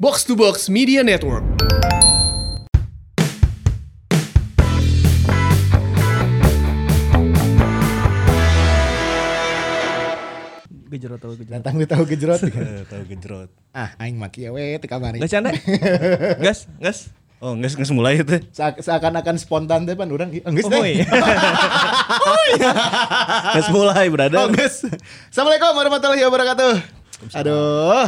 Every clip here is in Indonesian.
Box to Box Media Network. Gejrot tahu gejrot. Datang lu tahu gejrot. Eh, tahu gejrot. ah, aing maki we teu kamari. Nggak canda? Gas, gas. Oh, nggak nggak mulai itu. Seak- Seakan-akan spontan teh pan urang geus Oh, teh. iya. Nggak mulai, eh, berada. Oh, geus. Assalamualaikum warahmatullahi wabarakatuh. Aduh,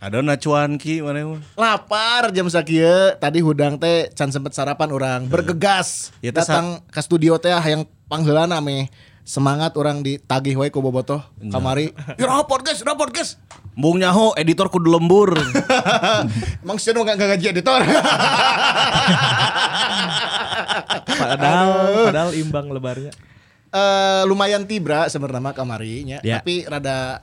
Ada nacuan ki mana mah? lapar jam sakieu. Tadi hudang teh can sempet sarapan orang bergegas. Ya, Iya. teh Datang ke studio teh ah, hayang pangheulana me. Semangat orang ditagih wae ku bobotoh Nah. kamari. Ya rapor guys, rapor guys. Bung nyaho, editor kudu lembur. Emang Siono gak, gak gaji editor. Padahal, padahal imbang lebarnya. Eh, lumayan tibra sebenarnya kamarinya, Ya. tapi rada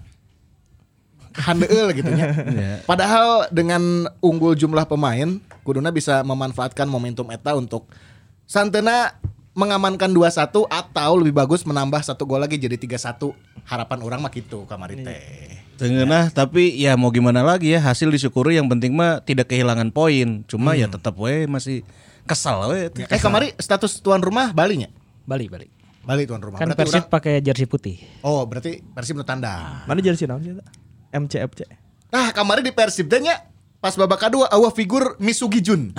handeel gitu nya. Ya. Padahal dengan unggul jumlah pemain, kuduna bisa memanfaatkan momentum eta untuk Santena mengamankan 2-1 atau lebih bagus menambah satu gol lagi jadi 3-1. Harapan orang mah gitu kamari Iya. teh. Tengenah, tapi ya mau gimana lagi ya hasil disyukuri yang penting mah tidak kehilangan poin. Cuma ya tetap we masih kesal we. Hmm. Eh kamari status tuan rumah Bali nya? Bali, Bali. Bali tuan rumah. Kan berarti Persib urang- pakai jersey putih. oh, berarti Persib nu tandang. Mana jersey naon sih? Eta? MC FC. Nah, kamari di Persib teh nya pas babak kedua awah figur Misugi Jun,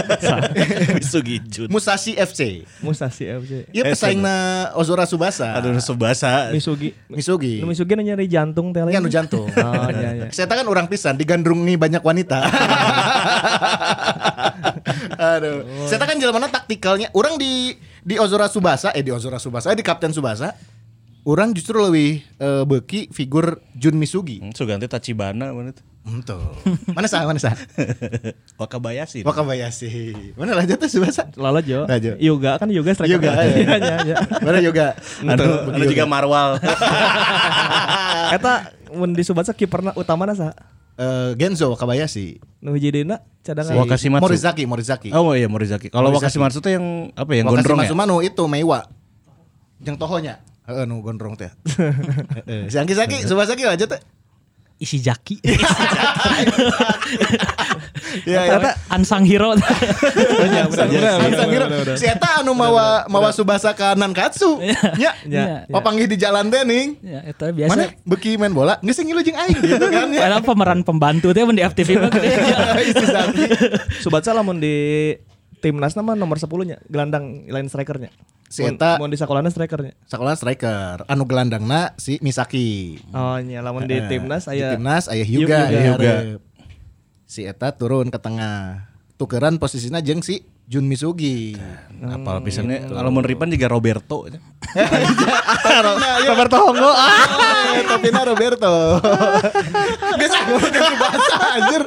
Sugijun. Musashi FC. Musashi FC. Iya pesaingna Ozora Subasa. Aduh, sebasa. Misugi. Misugi. Nu Iya. Misugi nanya dari jantung teh lain. Kan nu jantung. Oh, iya, iya. Saya kan orang pisan digandrungi banyak wanita. Oh. Aduh. Saya kan jalan taktikalnya. Orang di di Ozora Subasa, eh di Ozora Subasa, eh di Kapten Subasa. Orang justru lebih eh, beki figur Jun Misugi. Hmm, Suganti Tachibana mana itu? Hmm. Entuh. Mana sah, mana sah? Wakabayashi. Wakabayashi. Mana lanjut tuh Subasa? Lala Jo. Nah, Jo. Yoga kan Yoga striker. Yoga, Iya, iya. iya, iya. Mana juga? Aduh, ada Anu, juga Marwal. Eta mun di Subatsa kiperna utamana saha? Eh, Genzo Wakabayashi. Nu hiji deuna Si cadangan. Wakashimatsu. Morizaki, Morizaki. Oh iya Morizaki. Kalau Morizaki. Wakashimatsu tuh yang apa ya, yang Wakasi gondrong ya? Matsumano itu Meiwa. Yang tohonya. Heeh nu gondrong teh. Heeh. Si Angki Saki, Subasaki aja teh. Isi jaki. Iya, Ternyata Ansang Hero. Iya, benar, benar, benar, benar, benar. Si Eta anu mawa mawa Subasa ke Nankatsu. Ya. Iya, iya. Iya. Papanggih di jalan teh ning. ya, itu biasa. Mana beki main bola, geus ngilu jeung aing gitu kan ya. Padahal pemeran pembantu teh mun di FTV mah gede. Si Saki. Subatsa lamun di timnas nama nomor 10 nya gelandang lain strikernya. Si Eta- mun di sakolana strikernya. Sekolah striker, anu gelandangna si Misaki. Oh iya lamun di Heeh. timnas Di aya timnas aya Hyuga, Hyuga. di Hyuga. hareup. Si Eta turun ke tengah. Tukeran posisinya jeung si Jun Misugi. Apal Iya, pisannya kalau mau Ripan juga Roberto. Roberto Ah. Honggo. Topina Roberto. Biasa ngomongin bahasa anjir.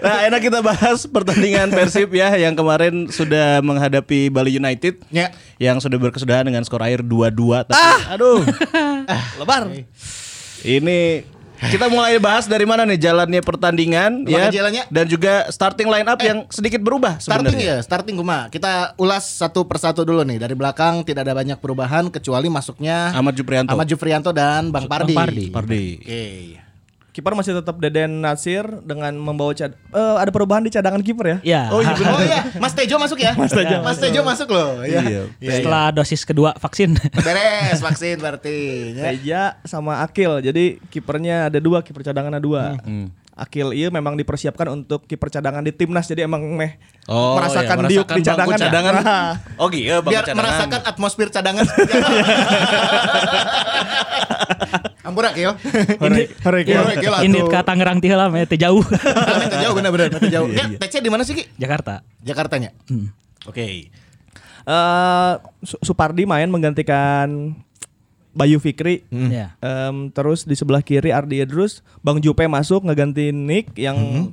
Nah, enak kita bahas pertandingan Persib ya yang kemarin sudah menghadapi Bali United. Ya. Yang sudah berkesudahan dengan skor akhir 2-2 tapi Ah. aduh. lebar. Ini kita mulai bahas dari mana nih jalannya pertandingan Mana ya jalannya? dan juga starting line up yang sedikit berubah Starting sebenarnya. ya, starting Guma. Kita ulas satu persatu dulu nih. Dari belakang tidak ada banyak perubahan kecuali masuknya Ahmad Juprianto. Ahmad Jufrianto dan Bang Pardi. Pardi. Pardi. Oke. Kiper masih tetap Deden Nasir dengan membawa cad eh, ada perubahan di cadangan kiper ya. Ya. Oh iya, bener. Oh iya, Mas Tejo masuk ya? Mas Tejo, Mas Tejo masuk loh. Iya. Iya. Iya, iya. Setelah dosis kedua vaksin. Beres vaksin berarti. Ya. Teja sama Akil. Jadi kipernya ada dua, kiper cadangan ada dua. Hmm. Akil iya memang dipersiapkan untuk kiper cadangan di timnas. Jadi emang meh Oh, merasakan ya, diuk di merasakan bangku cadangan. ya. cadangan. Nah, Oh iya, bangku biar cadangan. merasakan atmosfer cadangan. seperti apa. Ampurak yo. Ini Horek yo. Horek yo lah ini tuh. ke Tangerang teh lah, meh, teh jauh. Karena itu jauh benar-benar itu jauh. Ya, TC di mana sih Ki? Jakarta. Jakartanya. Oke. eh, Su- Supardi main menggantikan Bayu Fikri. Hmm. Ya. Em, terus di sebelah kiri Ardi Idrus, Bang Jupe masuk ngeganti Nick yang Hmm.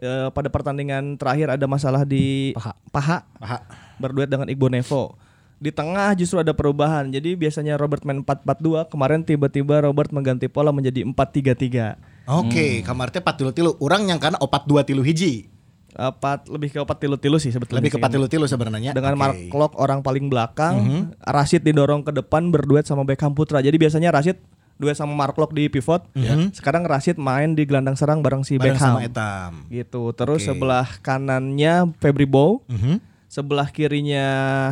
eh, pada pertandingan terakhir ada masalah di Paha. Paha. berduet dengan Igbo Nevo. Di tengah justru ada perubahan. Jadi biasanya Robert main 4-4-2, kemarin tiba-tiba Robert mengganti pola menjadi 4-3-3. Oke, kamar teh 4 tilu tilu. Orang yang karena opat dua tilu hiji. Empat Eh, lebih ke 4 tilu-tilu sih sebetulnya. Lebih ke sih empat ini. tilu tilu sebenarnya. Dengan Oke. Mhm. Mark Klok orang paling belakang, Rashid didorong ke depan berduet sama Beckham Putra. Jadi biasanya Rashid duet sama Mark Locke di pivot. Ya. Sekarang Rashid main di gelandang serang bareng si Mhm. Bareng Beckham. sama Etam. Gitu. Terus Oke. sebelah kanannya Febri Bow, Mhm. sebelah kirinya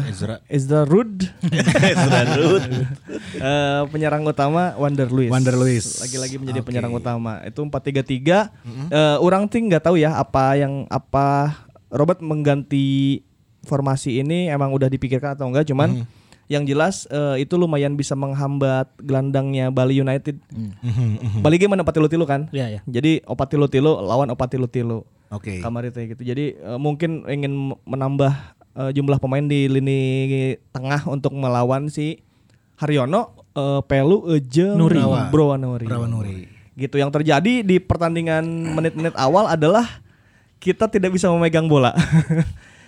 Ezra. Ezra Rud. Eh, penyerang utama Wander Luis. Wander Luiz. Lagi-lagi menjadi Oke. penyerang utama. Itu 4-3-3. Eh, orang ting nggak tahu ya apa yang apa Robert mengganti formasi ini emang udah dipikirkan atau enggak cuman Mm-hmm. yang jelas eh, itu lumayan bisa menghambat gelandangnya Bali United. Bali game menempati tilu kan? Mm-hmm. Iya, iya. Jadi Opatilu Tilu lawan Opatilu Tilu. Oke. Kamar itu gitu. Jadi eh, mungkin ingin menambah eh, jumlah pemain di lini tengah untuk melawan si Haryono, eh, Pelu, Eje, Nuri. Browanuri. Browanuri. Gitu. Yang terjadi di pertandingan menit-menit awal adalah kita tidak bisa memegang bola.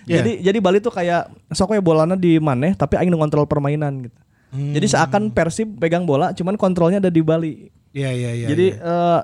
Jadi jadi Bali tuh kayak soknya bolanya di maneh tapi aing ngontrol permainan gitu. Jadi seakan Persib pegang bola cuman kontrolnya ada di Bali. Iya iya iya. Jadi eh,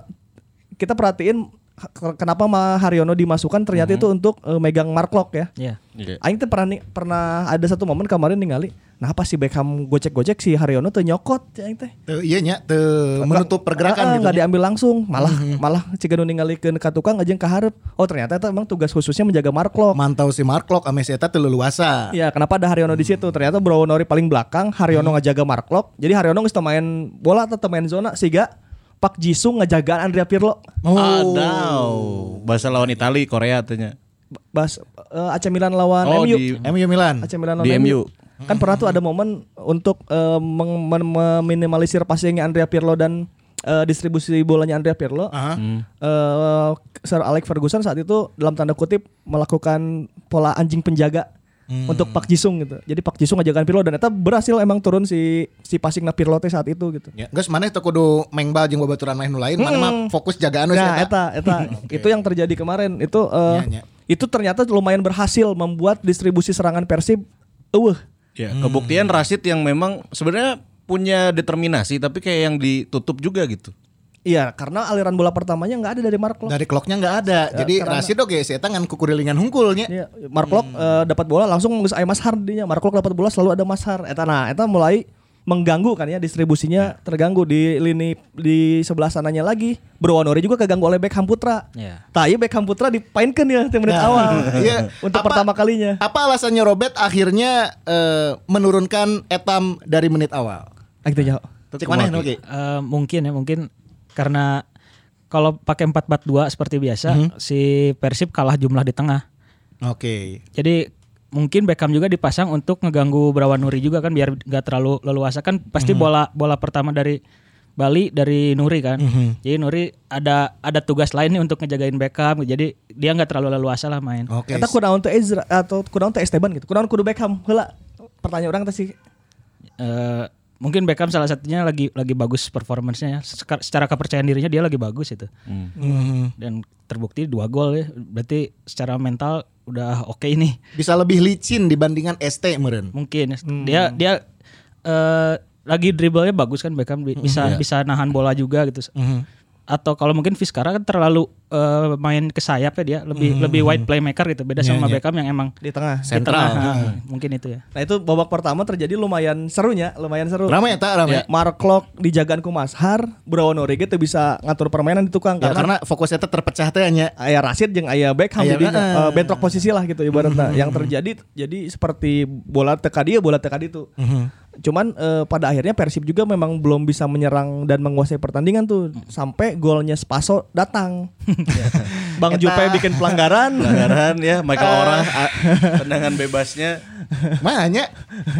kita perhatiin ha- kenapa Ma Haryono dimasukkan Mhm. ternyata itu untuk eh, megang Mark Locke ya. Iya. Aing tuh pernah ni- pernah ada satu momen kemarin ningali, nah apa si Beckham gocek-gocek si Haryono tuh nyokot ya aing teh. Teu- iya nya teu menutup pergerakan gitu. Ah, Mhm. nggak nya. diambil langsung, malah malah ciga nu ningali ke ka tukang aja ka hareup. Oh ternyata itu emang tugas khususnya menjaga Mark Locke. Mantau si Mark Locke ame si Eta teu leluasa. Ya, kenapa ada Haryono di situ? Ternyata Bro Nori paling belakang, Haryono Mhm. ngajaga Mark Locke. Jadi Haryono geus teu main bola atau teu main zona sehingga Pak Jisung ngejagaan Andrea Pirlo. Adau. Bahasa lawan Itali, Korea artinya. Bas eh, AC Milan lawan Oh, MU. di MU Milan. AC Milan lawan di MU. Kan pernah tuh ada momen untuk eh, meng- men- meminimalisir passingnya Andrea Pirlo dan eh, distribusi bolanya Andrea Pirlo. Aha. Hmm. Eh, Sir Alex Ferguson saat itu dalam tanda kutip melakukan pola anjing penjaga untuk Pak Jisung gitu. Jadi Pak Jisung ngajakan Pirlo dan ternyata berhasil emang turun si si passingnya Pirlo teh saat itu gitu. Ya, geus maneh teu kudu mengbal jeung babaturan maneh nu lain, mana mah fokus jagaan we si Nah, Eta. eta eta itu yang terjadi kemarin. Itu eh, Iya, iya. itu ternyata lumayan berhasil membuat distribusi serangan Persib eueuh. Ya, kebuktian Rashid yang memang sebenarnya punya determinasi tapi kayak yang ditutup juga gitu. Iya, karena aliran bola pertamanya nggak ada dari Mark Locke. Dari kloknya nggak ada. Jadi Rashid oke si Eta ngan kukurilingan hungkulnya. Iya, Mark Locke eh, dapat bola langsung ngus aya Mashar dinya. iya. Mark Locke dapat bola selalu ada Mashar. Eta nah, eta mulai mengganggu kan ya distribusinya terganggu di lini di sebelah sananya lagi. Browanori juga keganggu oleh Beckham Putra. Iya. Tah ieu Beckham Putra dipainkeun ya di menit Nah, awal. iya. Untuk Apa- pertama kalinya. Apa alasannya Robert akhirnya eh, menurunkan Etam dari menit awal? Ah, gitu, Jaho. Cek maneh nu ge? Eh, mungkin ya mungkin karena kalau pakai 4-4-2 seperti biasa Hmm. si Persib kalah jumlah di tengah. Oke. Jadi mungkin Beckham juga dipasang untuk ngeganggu Brawan Nuri juga kan biar nggak terlalu leluasa kan pasti bola bola pertama dari Bali dari Nuri kan. Jadi Nuri ada ada tugas lain nih untuk ngejagain Beckham. Jadi dia nggak terlalu leluasa lah main. Oke. Eta kunaon teh Ezra atau kunaon teh Esteban gitu. Kunaon kudu Beckham heula. Pertanyaan orang teh sih. Eh, mungkin Beckham salah satunya lagi lagi bagus performancenya ya. Seka- Secara kepercayaan dirinya dia lagi bagus itu. Dan terbukti dua gol ya. Berarti secara mental udah oke ini. Bisa lebih licin dibandingkan ST meren. Mungkin dia dia eh, lagi dribblenya bagus kan Beckham Bi- bisa bisa nahan bola juga gitu. Atau kalau mungkin Vizcara kan terlalu eh, main ke sayap ya dia lebih lebih wide playmaker gitu. Beda sama Beckham yang emang di tengah. di tengah. Nah, mungkin itu ya. Nah itu babak pertama terjadi lumayan serunya, lumayan seru. Ramai Eta, ramai. ya? Mark Locke dijagaan ku Mashar, Brawono Rege teu bisa ngatur permainan di tukang Ya, karena, karena fokus Eta terpecah teh nya. ayah Rashid jeung ayah Beckham Aya, jadi heeh. eh, bentrok posisi lah gitu ibaratnya. Yang terjadi jadi seperti bola teka dia, bola teka dia itu. Cuman eh, pada akhirnya Persib juga memang belum bisa menyerang dan menguasai pertandingan tuh sampai golnya Spaso datang. Bang Eta. Jupe bikin pelanggaran. Pelanggaran ya Michael Orah a- tendangan bebasnya. Mahanya.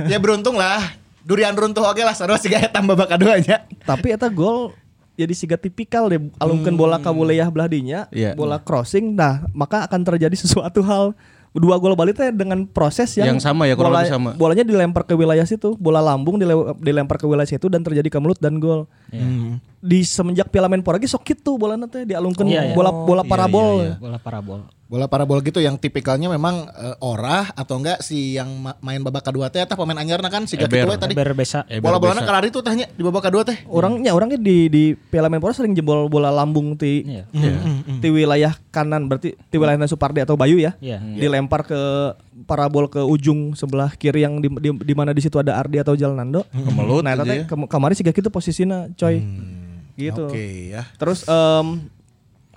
Ya beruntung lah. Durian runtuh oke lah, sarua siga Etam babak kedua nya. Tapi eta gol jadi siga tipikal deh alungkeun bola ka wilayah belah dinya, Hmm. Iya. bola crossing nah maka akan terjadi sesuatu hal dua gol Bali teh dengan proses yang, Yang sama ya, kurang bola- lebih sama. bolanya dilempar ke wilayah situ bola lambung dile- dilempar ke wilayah situ dan terjadi ke mulut dan gol Iya. di semenjak Piala Menpora ge sok kitu bolana teh dialungkeun Iya, iya. bola bola Oh, parabol iya, Bola parabol. Bola parabol gitu yang tipikalnya memang eh, orah atau enggak si yang ma- main babak kedua teh eta pemain anyarna kan siga kitu Eber. we tadi. Berbesa. Eber Bola-bolana bisa. kalari tuh tanya di babak kedua teh. Iya. orangnya orangnya di di Piala Menpora sering jebol bola lambung ti Hmm, Iya. ti wilayah kanan berarti ti wilayahnya Supardi atau Bayu ya Iya. dilempar ke parabol ke ujung sebelah kiri yang di, di, di mana di situ ada Ardi atau Jalnando. Kemelut nah, aja tete ya. Hmm, kem- kamari sih gitu posisinya, coy. Gitu. Oke ya. Terus em,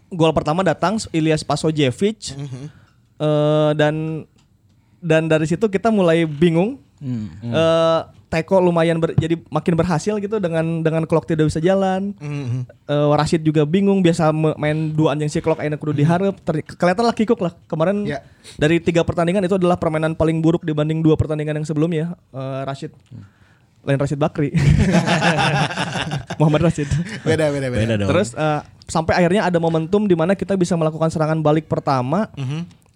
gol pertama datang Ilyas Pasojevic Eh, dan dan dari situ kita mulai bingung. Eh, Teko lumayan ber- jadi makin berhasil gitu dengan dengan clock tidak bisa jalan. Eh, Rashid juga bingung biasa me- main dua anjing si clock akhirnya kudu diharap. Ter- kelihatan lah kikuk lah kemarin Ya. dari tiga pertandingan itu adalah permainan paling buruk dibanding dua pertandingan yang sebelumnya Eh, Rashid lain Rashid Bakri Muhammad Rashid Beda beda beda. Beda dong. Terus eh, sampai akhirnya ada momentum di mana kita bisa melakukan serangan balik pertama.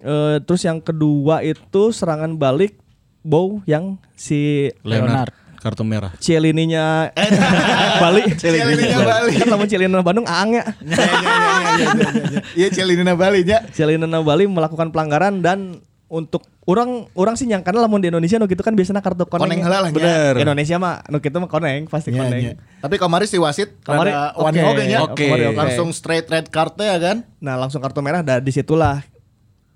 Eh, terus yang kedua itu serangan balik Bow yang si Leonard kartu merah. Cielininya Bali. Cielininya Bali. Kan lamun Cielina Bandung aang ya. Ya, ya, ya, ya, ya, ya, ya. Iya Celinina Bali ya. Cielina Bali melakukan pelanggaran dan untuk orang orang sih nyangkana lamun di Indonesia nu gitu kan biasanya kartu koneng. Koneng heula lah, nya. Bener. Indonesia mah nu kitu mah koneng pasti Ya, koneng. ya. Tapi kamari si wasit Kamari, rada oke. wani oge nya. Oke. Langsung straight red card ya kan. Nah langsung kartu merah dan disitulah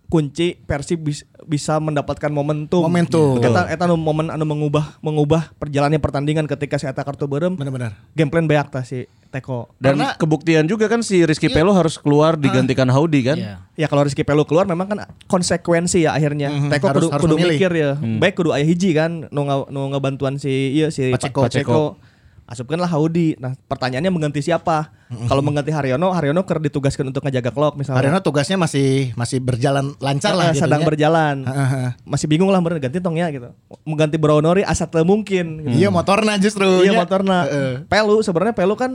kunci Persib bis- bisa mendapatkan momentum. Iya. Momentum. Eta, eta nu momen anu mengubah mengubah perjalannya pertandingan ketika si eta kartu berem. Benar-benar. Game plan beak tah si Teko. Dan Karena- kebuktian juga kan si Rizky Pelo harus keluar digantikan Haudi kan. Iya. Ya kalau Rizky Pelu keluar memang kan konsekuensi ya akhirnya. Mhm, Teko kudu, harus- harus kudu memilih. mikir ya. Baik kudu aya hiji kan nu nga- nu ngebantuan si iya si Paceko. Pa- Asupkanlah Haudi. Nah, pertanyaannya mengganti siapa? Mhm. Kalau mengganti Haryono, Haryono ker ditugaskan untuk ngejaga clock misalnya. Arena tugasnya masih masih berjalan lancar Eh, lah sedang jadinya. berjalan. Heeh. Masih bingung lah bener ganti tongnya gitu. Mengganti Brownori asal teu mungkin. gitu. Iya motorna justru. Iya nya. motorna. Heeh. Pelu sebenarnya Pelu kan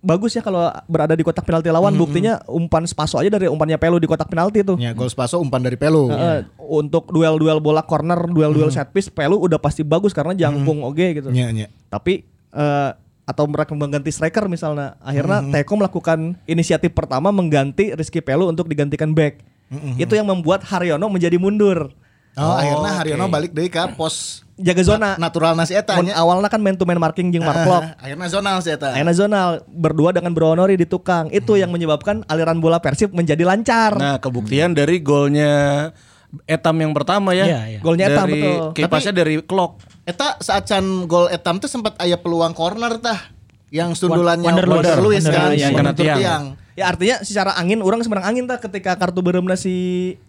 bagus ya kalau berada di kotak penalti lawan. Hmm, Buktinya umpan Spaso aja dari umpannya Pelu di kotak penalti tuh. Ya gol Spaso umpan dari Pelu. Heeh, Untuk duel-duel bola corner, duel-duel set piece Pelu udah pasti bagus karena jangkung oge gitu. Hmm. Iya iya. Tapi eh, atau mereka mengganti striker misalnya akhirnya Teko melakukan inisiatif pertama mengganti Rizky Pelu untuk digantikan back itu yang membuat Haryono menjadi mundur Oh, akhirnya Haryono balik deui ke pos jaga zona natural nasi eta Mun nya. awalnya kan man to man marking jeung Ah, mark lock. Akhirnya zonal sih eta. Akhirnya zonal berdua dengan Brownori di tukang. Itu yang menyebabkan aliran bola Persib menjadi lancar. Nah, kebuktian dari golnya Etam yang pertama ya. Iya, iya. Golnya Etam, Dari- betul. Kipasnya dari Clock. Eta saat can gol etam tuh sempat aya peluang corner tah yang sundulannya Wander Luiz. Wander Luiz kan Wander Luiz, iya, Wander kena tiang. Ya artinya secara angin orang sebenarnya angin tah ketika kartu beremna si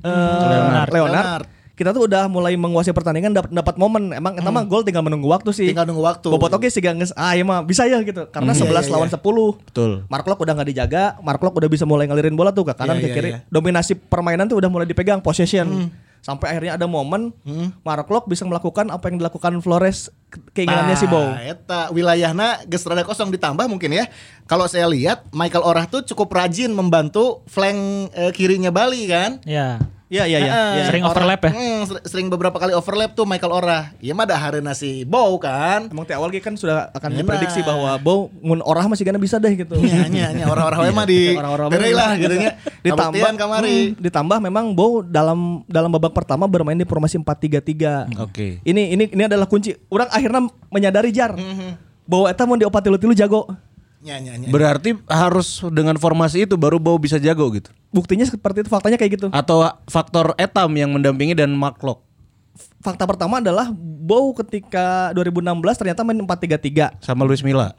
eh, Leonard. Leonard. Kita tuh udah mulai menguasai pertandingan dapat dapat momen. Emang eta mah gol tinggal menunggu waktu sih. Hmm. Tinggal nunggu waktu. Hmm. Iya, Bobot oke sih geus ah ya mah bisa ya gitu. Karena 11 lawan 10. Betul. Mark Lok udah nggak dijaga, Mark Lok udah bisa mulai ngelirin bola tuh ke kanan Iya, ke iya, Hmm. kiri. iya. Dominasi permainan tuh udah mulai dipegang possession. Sampai akhirnya ada momen Hmm. Mark Lok bisa melakukan apa yang dilakukan Flores ke- keinginannya si Bow. Nah, Eta wilayahnya geus rada kosong ditambah mungkin ya. Kalau saya lihat Michael Orah tuh cukup rajin membantu flank eh, kirinya Bali kan. Ya. Iya iya iya. Heeh, iya. Sering overlap ya? Hmm, ser- sering beberapa kali overlap tuh Michael Orah. Iya mah dah hareuna si Bow kan. Emang teh awal ge kan sudah akan Iya. Enak. diprediksi bahwa Bow mun orah masih gana bisa deh gitu. Nya nya nya orang-orang we mah di Iya, Orang-orang mah beri lah gitu nya. ditambah Kabuktian kamari. hmm, ditambah memang Bow dalam dalam babak pertama bermain di formasi 4-3-3. Oke. Ini ini ini adalah kunci. Orang akhirnya menyadari jar Mm-hmm. bahwa eta mau diopat tilu-tilu jago. Nya nya nya. Berarti harus dengan formasi itu baru Bau bisa jago gitu. Buktinya seperti itu, faktanya kayak gitu. Atau faktor Etam yang mendampingi dan Mark Lok. Fakta pertama adalah Bow ketika 2016 ternyata main 4-3-3. sama Luis Mila.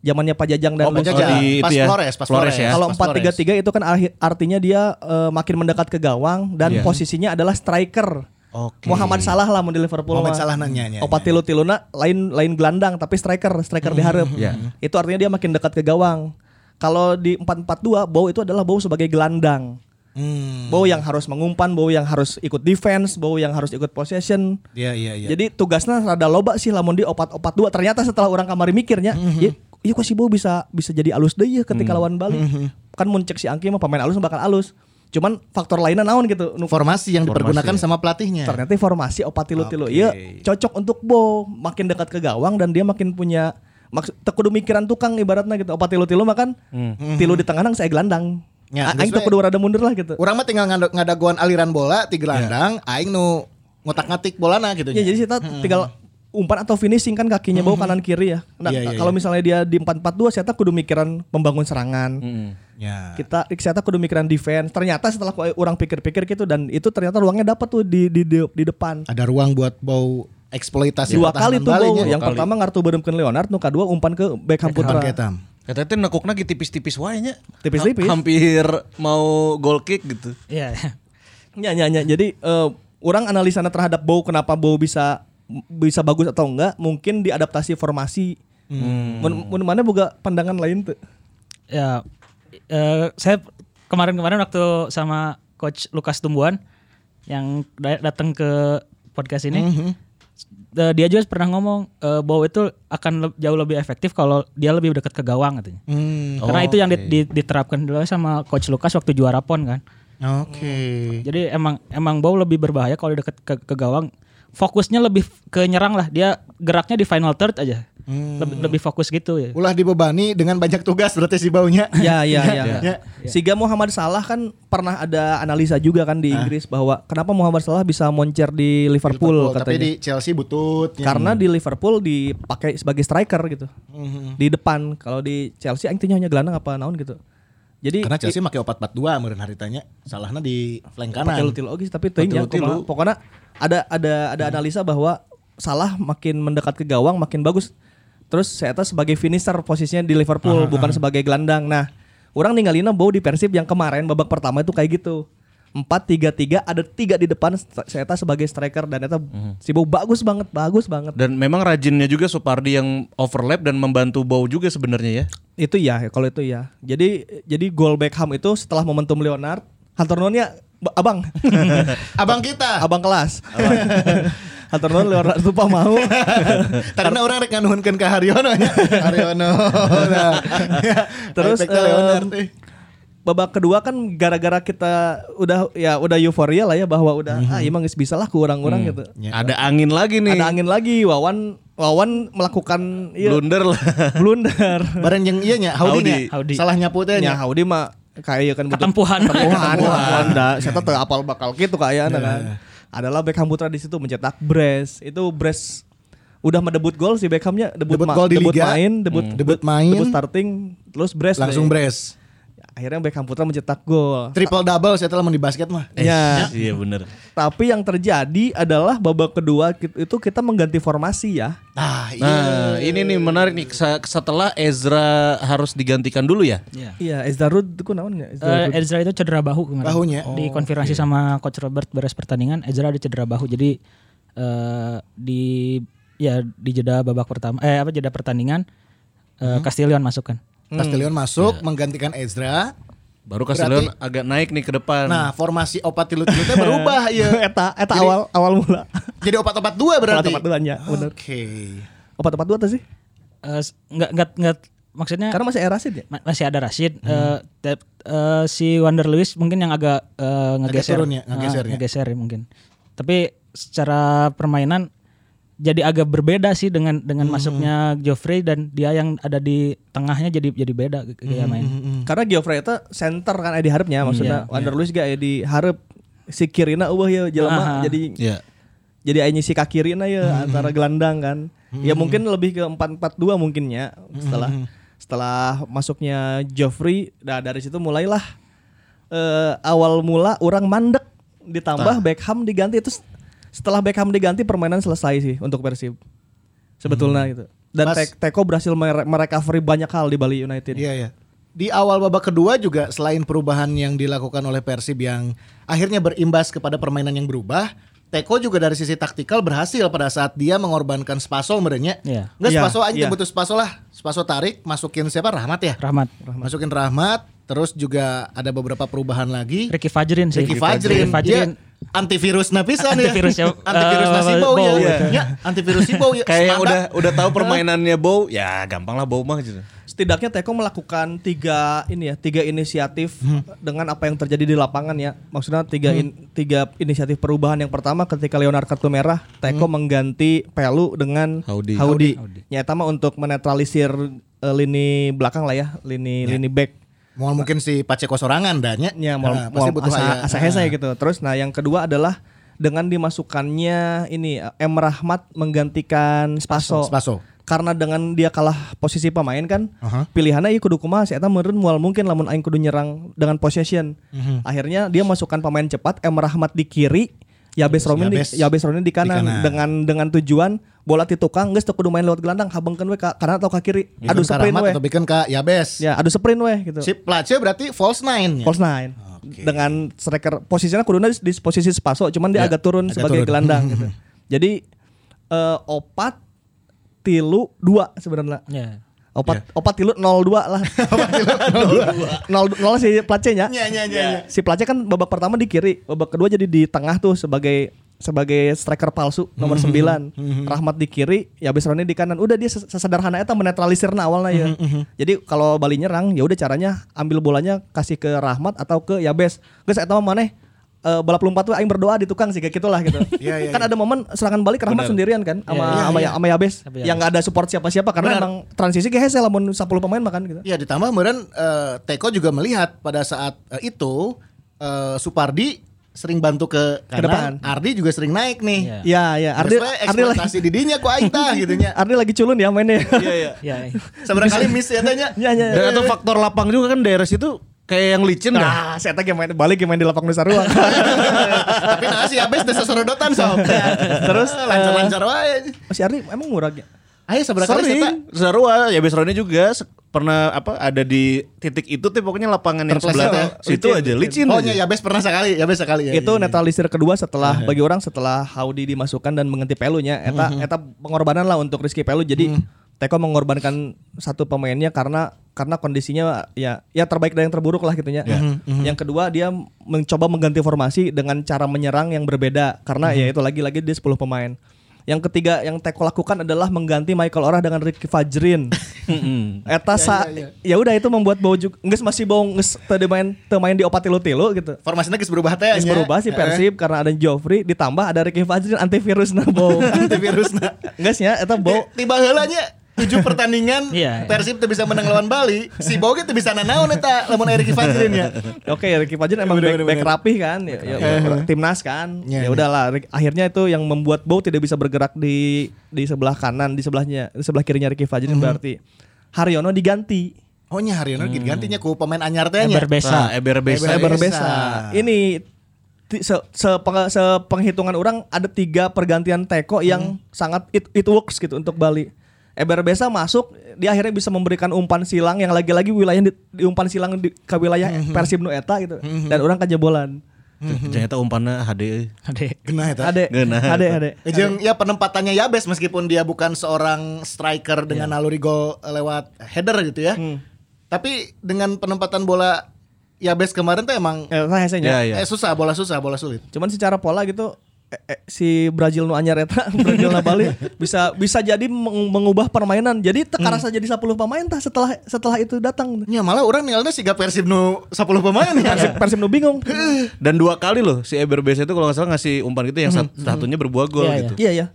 Zamannya Pak Jajang dan Oh, Pak Bang Jajang. Sony. di pas itu ya, Flores, pas Flores Flores, ya. Iya, Kalau pas empat tiga Flores. tiga itu kan arhi- artinya dia eh, makin mendekat ke gawang dan Iya. posisinya adalah striker. Oke. Muhammad Salah lah mun di Liverpool. Momen mah. salah nanya nya. Opat tilu tiluna lain lain gelandang tapi striker striker diharap. Iya. Itu artinya dia makin dekat ke gawang. Kalau di 4-4-2 Bow itu adalah Bow sebagai gelandang. Hmm. Bow yang harus mengumpan, Bow yang harus ikut defense, Bow yang harus ikut possession. Iya iya iya. Jadi tugasnya rada loba sih lamun di opat-opat dua. Ternyata setelah orang kamari mikirnya, Mhm. ya, iya kok si Bow bisa bisa jadi alus deh ya ketika lawan Bali. Mhm. Kan muncek si Angki mah pemain alus bakal alus. Cuman faktor lainnya naon gitu. Nu- formasi yang dipergunakan sama pelatihnya. Ternyata formasi opat tilu tilu. Iya cocok untuk Bow. Makin dekat ke gawang dan dia makin punya maksud tekudu mikiran tukang ibaratnya gitu. Opat tilu tilu makan tilu di tengah nang saya gelandang. Mhm. Ya, A- Aing terus tekudu rada mundur lah gitu. Orang mah tinggal ngada- ngadaguan aliran bola ti gelandang, aing nu ngotak-ngatik bolana gitu Ya nya. Iya. jadi kita tinggal umpan atau finishing kan kakinya bau kanan kiri ya. Nah, Mhm. Iya, iya, kalau misalnya dia di 4-4-2 saya kudu mikiran membangun serangan. Ya. kita Ikseta kudu mikiran defense ternyata setelah ku- orang pikir-pikir gitu dan itu ternyata ruangnya dapat tuh di di di, di depan Ada ruang buat bau eksploitasi dua Iya, pertahanan ya. kali tuh Bali gol nya. yang pertama ngartu beremkeun Leonard nu kedua umpan ke Beckham Putra Oke, Tam. Kata teh nekukna ge tipis-tipis wae nya. Tipis-tipis. Ha- hampir mau goal kick gitu. Iya. Ya, ya, ya. Jadi eh, orang analisana terhadap Bow kenapa Bow bisa bisa bagus atau enggak mungkin diadaptasi formasi. Hmm. Mun, mun mana boga pandangan lain tuh. ya eh, saya kemarin-kemarin waktu sama coach Lukas Tumbuan yang da- datang ke podcast ini eh, dia juga pernah ngomong eh, bahwa itu akan le- jauh lebih efektif kalau dia lebih dekat ke gawang katanya Hmm, karena itu yang di- di- diterapkan dulu sama coach Lukas waktu juara pon kan Oke. Mhm. Hmm. jadi emang emang Bow lebih berbahaya kalau dekat ke, ke gawang. Fokusnya lebih ke nyerang lah. Dia geraknya di final third aja. Lebih, lebih fokus gitu ya. Ulah dibebani dengan banyak tugas berarti si baunya. Ya, ya, ya. ya. Siga Muhammad Salah kan pernah ada analisa juga kan Ah. di Inggris bahwa kenapa Muhammad Salah bisa moncer di Liverpool, tapi katanya. di Chelsea butut. ya. Karena di Liverpool dipakai sebagai striker gitu. Mhm. Hmm. Di depan kalau di Chelsea intinya hanya gelandang apa naon gitu. Jadi Karena Chelsea make 4-4-2 meureun haritanya. Salahnya di flank kanan. pakai Hmm. tilu logis tapi teuing ya kumaha. Patilu-tilu. pokoknya ada ada ada analisa bahwa salah makin mendekat ke gawang makin bagus terus saya tahu sebagai finisher posisinya di Liverpool bukan sebagai gelandang nah orang ninggalin Bow di Persib yang kemarin babak pertama itu kayak gitu empat tiga tiga ada tiga di depan saya tahu sebagai striker dan eta si Bow bagus banget bagus banget Dan memang rajinnya juga Supardi yang overlap dan membantu Bow juga sebenarnya ya. itu ya kalau itu ya jadi jadi gol Beckham itu setelah momentum Leonard Hantornonya abang Abang kita. abang kelas Hantornon Leonard lupa mau Karena orang rek nganuhunkeun ke Haryono nya. Haryono. Nah. Terus, Efeknya em, Leonard, eh. babak kedua kan gara-gara kita udah ya udah euforia lah ya bahwa udah ah emang geus bisa lah ke orang-orang gitu. Ada angin lagi nih. Ada angin lagi Wawan Wawan melakukan iya, Blunder lah. blunder. Bareng jeung ieu nya, Haudi nya. Haudi. Salah nyapu teh Ya nya. Haudi mah kayak kan butuh Ketempuhan. ketempuhan. ketempuhan. Da, Saya tuh apal bakal gitu kayak kan. Adalah Beckham Putra di situ mencetak brace. Itu brace udah mendebut gol si Beckhamnya debut, Debut ma- gol di debut Liga. main, debut, Hmm. Debut main. debut starting, terus brace. deh. Langsung brace. Akhirnya Beckham Putra mencetak gol. Triple double saya telah di basket mah. Ya. Iya bener. Tapi yang terjadi adalah babak kedua ki- itu kita mengganti formasi ya. Nah, iya. Nah ini nih menarik nih Sa- setelah Ezra harus digantikan dulu ya. Iya. Iya, Ezdarud itu namanya. Eh, Ezra itu cedera bahu kemarin. Bahunya. Dikonfirmasi sama coach Robert beres pertandingan, Ezra ada cedera bahu. Jadi eh, di ya di jeda babak pertama eh apa jeda pertandingan eh Castillion masukkan. Castellion masuk menggantikan Ezra. Baru Castellon agak naik nih ke depan. Nah, formasi opat tilu tilu teh berubah ya. Eh, eta eta Jadi- awal awal mula. Jadi opat opat dua berarti. Opat-opat dua, ya, Oke. bener. Opat-opat dua tuh sih. Eh s- nggak nggak nggak maksudnya Karena masih era sih ya. Ma- masih ada Rashid Hmm. eh, te- eh, si Wander Lewis mungkin yang agak eh, ngegeser turun ya, ngegeser Ah, ya. ngegeser ya mungkin tapi secara permainan jadi agak berbeda sih dengan dengan Hmm. masuknya Joffrey dan dia yang ada di tengahnya jadi jadi beda g- gaya Hmm. main Karena Geoffrey itu center kan aya di hareup nya, maksudnya Wander Luis gak aya di hareup si Kirina eueuh ya jelema Aha. jadi Ya. jadi aya nyisi ka Kirina ya antara gelandang kan. Ya mungkin lebih ke 4-4-2 mungkin ya setelah setelah masuknya Geoffrey nah dari situ mulailah eh, awal mula orang mandek ditambah Beckham diganti itu setelah Beckham diganti permainan selesai sih untuk Persib. Sebetulnya gitu. Dan Mas- Te- Teko berhasil mere- merecovery banyak hal di Bali United. Iya ya. Di awal babak kedua juga selain perubahan yang dilakukan oleh Persib yang akhirnya berimbas kepada permainan yang berubah, Teko juga dari sisi taktikal berhasil pada saat dia mengorbankan Spaso merenya. Iya. Enggak Iya, Spaso aja iya. butuh Spaso lah. Spaso tarik, masukin siapa? Rahmat ya. Rahmat Masukin Rahmat, terus juga ada beberapa perubahan lagi. Ricky Fajrin sih Ricky Fajrin, Ricky Fajrin. Iya, antivirus napisan ya. Antivirusnya, antivirus eh, nasi bau ya. bau, Iya. ya. Ya, antivirus si bau ya. Kayak yang udah Standar. udah tahu permainannya Bow, ya gampang lah Bow mah gitu. setidaknya Teko melakukan tiga ini ya tiga inisiatif dengan apa yang terjadi di lapangan ya maksudnya tiga in- tiga inisiatif perubahan yang pertama ketika Leonard kartu merah Teko mengganti Pelu dengan Howdy. Hmm. Haudi nyata mah untuk menetralisir eh, lini belakang lah ya lini lini back Mohon mungkin si Paceko sorangan dahnya. ya mau, Nah, pasti butuh aya. asa, asa hese gitu terus nah yang kedua adalah dengan dimasukkannya ini eh, M Rahmat menggantikan Spaso Spaso. karena dengan dia kalah posisi pemain kan Aha. pilihannya iya kudu kumaha si eta meureun moal mungkin lamun aing kudu nyerang dengan possession. Mhm. Akhirnya dia masukkan pemain cepat M Rahmat di kiri, Yabes Romin Yabes. di Yabes Romin di kanan, kanan. dengan dengan tujuan bola ti tukang geus teu kudu main lewat gelandang habengkeun we ka kanan atau ka kiri. Adu sprint we. Gitu, atau bikin ke Yabes. Ya, adu sprint we gitu. Si Place berarti false nine. ya? False nine. Dengan striker posisinya kuduna di, di posisi Spaso, cuman dia Ya, agak turun agak sebagai turun. gelandang gitu. Jadi eh, opat tilu dua sebenarnya. Iya. Ya. Iya. Opat opat tilu 02 lah. opat tilu 02. 0 si Placenya. Iya, iya, iya, iya. Si Place kan babak pertama di kiri, babak kedua jadi di tengah tuh sebagai sebagai striker palsu nomor Mhm, 9. Rahmat di kiri, ya Roni di kanan. Udah dia ses- sesederhana eta menetralisir na awalnya Mhm, ya. Jadi kalau Bali nyerang ya udah caranya ambil bolanya kasih ke Rahmat atau ke Yabes. Geus eta mah maneh eh, balap lompat tuh aing berdoa di tukang sih kayak gitulah gitu. Iya, iya, kan ada momen serangan balik Rahmat sendirian kan sama Iya, sama sama Yabes Sama Yabes. yang nggak ada support siapa-siapa karena Benar. emang transisi kayak hese lamun 10 pemain makan gitu. Ya ditambah kemudian eh, Teko juga melihat pada saat eh, itu eh, Supardi sering bantu ke Ke depan. kanan, Ardi juga sering naik nih. Iya. Iya, iya. Ardi Terus we Ardi lagi eksploitasi didinya ku aing tah gitu nya. Ardi lagi culun ya mainnya. Iya iya. Ya. Seberapa kali miss ya tanya. Iya, iya. Dan itu faktor lapang juga kan daerah situ kayak yang licin Nah, dah. saya tadi main balik yang main di lapang Nusa Ruang. Tapi nah si Abes desa Iya. sorodotan sob. Terus eh, lancar-lancar wae. si Ardi emang murah ya? Ayo seberapa kali Sering. saya Sarua, ya Besroni juga se- pernah apa ada di titik itu tuh pokoknya lapangan yang Terpleset ya. sebelah situ Licin, aja licin. Oh aja. ya Yabes pernah sekali, Yabes sekali ya. itu iya, iya. netralisir kedua setelah bagi orang setelah Howdy dimasukkan dan mengganti pelunya eta eta pengorbanan lah untuk Rizky Pelu jadi Teko mengorbankan satu pemainnya karena karena kondisinya ya ya terbaik dan yang terburuk lah gitunya. Yang kedua dia mencoba mengganti formasi dengan cara menyerang yang berbeda karena ya itu lagi-lagi dia 10 pemain. Yang ketiga yang Teko lakukan adalah mengganti Michael Orah dengan Ricky Fajrin. Eta sa ya udah itu membuat bau juga nges masih bau nges teu main teu main di opat tilu gitu. Formasinya geus berubah teh Geus nya. berubah sih Persib karena ada Joffrey ditambah ada Ricky Fajrin antivirus na bau. Antivirusna. Enggak sih ya, eta bau. Ti- tiba heula nya tujuh pertandingan Iya, iya. Persib tuh bisa menang lawan Bali si Boge tuh bisa nanaon eta lamun Erik Fajrin ya Oke, Ricky Fajrin emang back, Bener, bener, back bener. rapih kan, ya, ya, timnas kan. Ya Iya, iya. udahlah, Rick- akhirnya itu yang membuat Bow tidak bisa bergerak di di sebelah kanan, di sebelahnya, di sebelah kirinya Ricky Fajrin Mm-hmm. berarti Haryono diganti. oh nya Haryono digantinya ku pemain anyar teh nya Hmm. Eber Besa. Nah, Eber Besa. Eber Eber Besa. Besa. Ini ti- se, sepeng- sepenghitungan orang ada tiga pergantian teko yang sangat it, it works gitu untuk Bali. Eber Besa masuk, dia akhirnya bisa memberikan umpan silang yang lagi-lagi wilayah di, di umpan silang di, ke wilayah Persib nu eta gitu. Dan orang kejebolan. Hmm. Ternyata umpannya HD. Ade. genah eta Ade, Geunah. ade, ade. Jeung ya penempatannya Yabes meskipun dia bukan seorang striker Iya. dengan naluri gol lewat header gitu ya. Hmm. Tapi dengan penempatan bola Yabes kemarin tuh emang Eh, saya saya Ya, ya. eh susah bola susah bola sulit. Cuman secara pola gitu eh, eh, si Brazil nu anyar eta Brazil na Bali bisa bisa jadi meng- mengubah permainan. Jadi tekarasa jadi 10 pemain tah setelah setelah itu datang. Ya malah orang nilainya siga Persib nu 10 pemain Persib, ya. Iya. Persib nu bingung. Dan dua kali loh si Eber Besa itu kalau nggak salah ngasih umpan gitu yang sat- satunya berbuah gol Iya, gitu. Iya ya.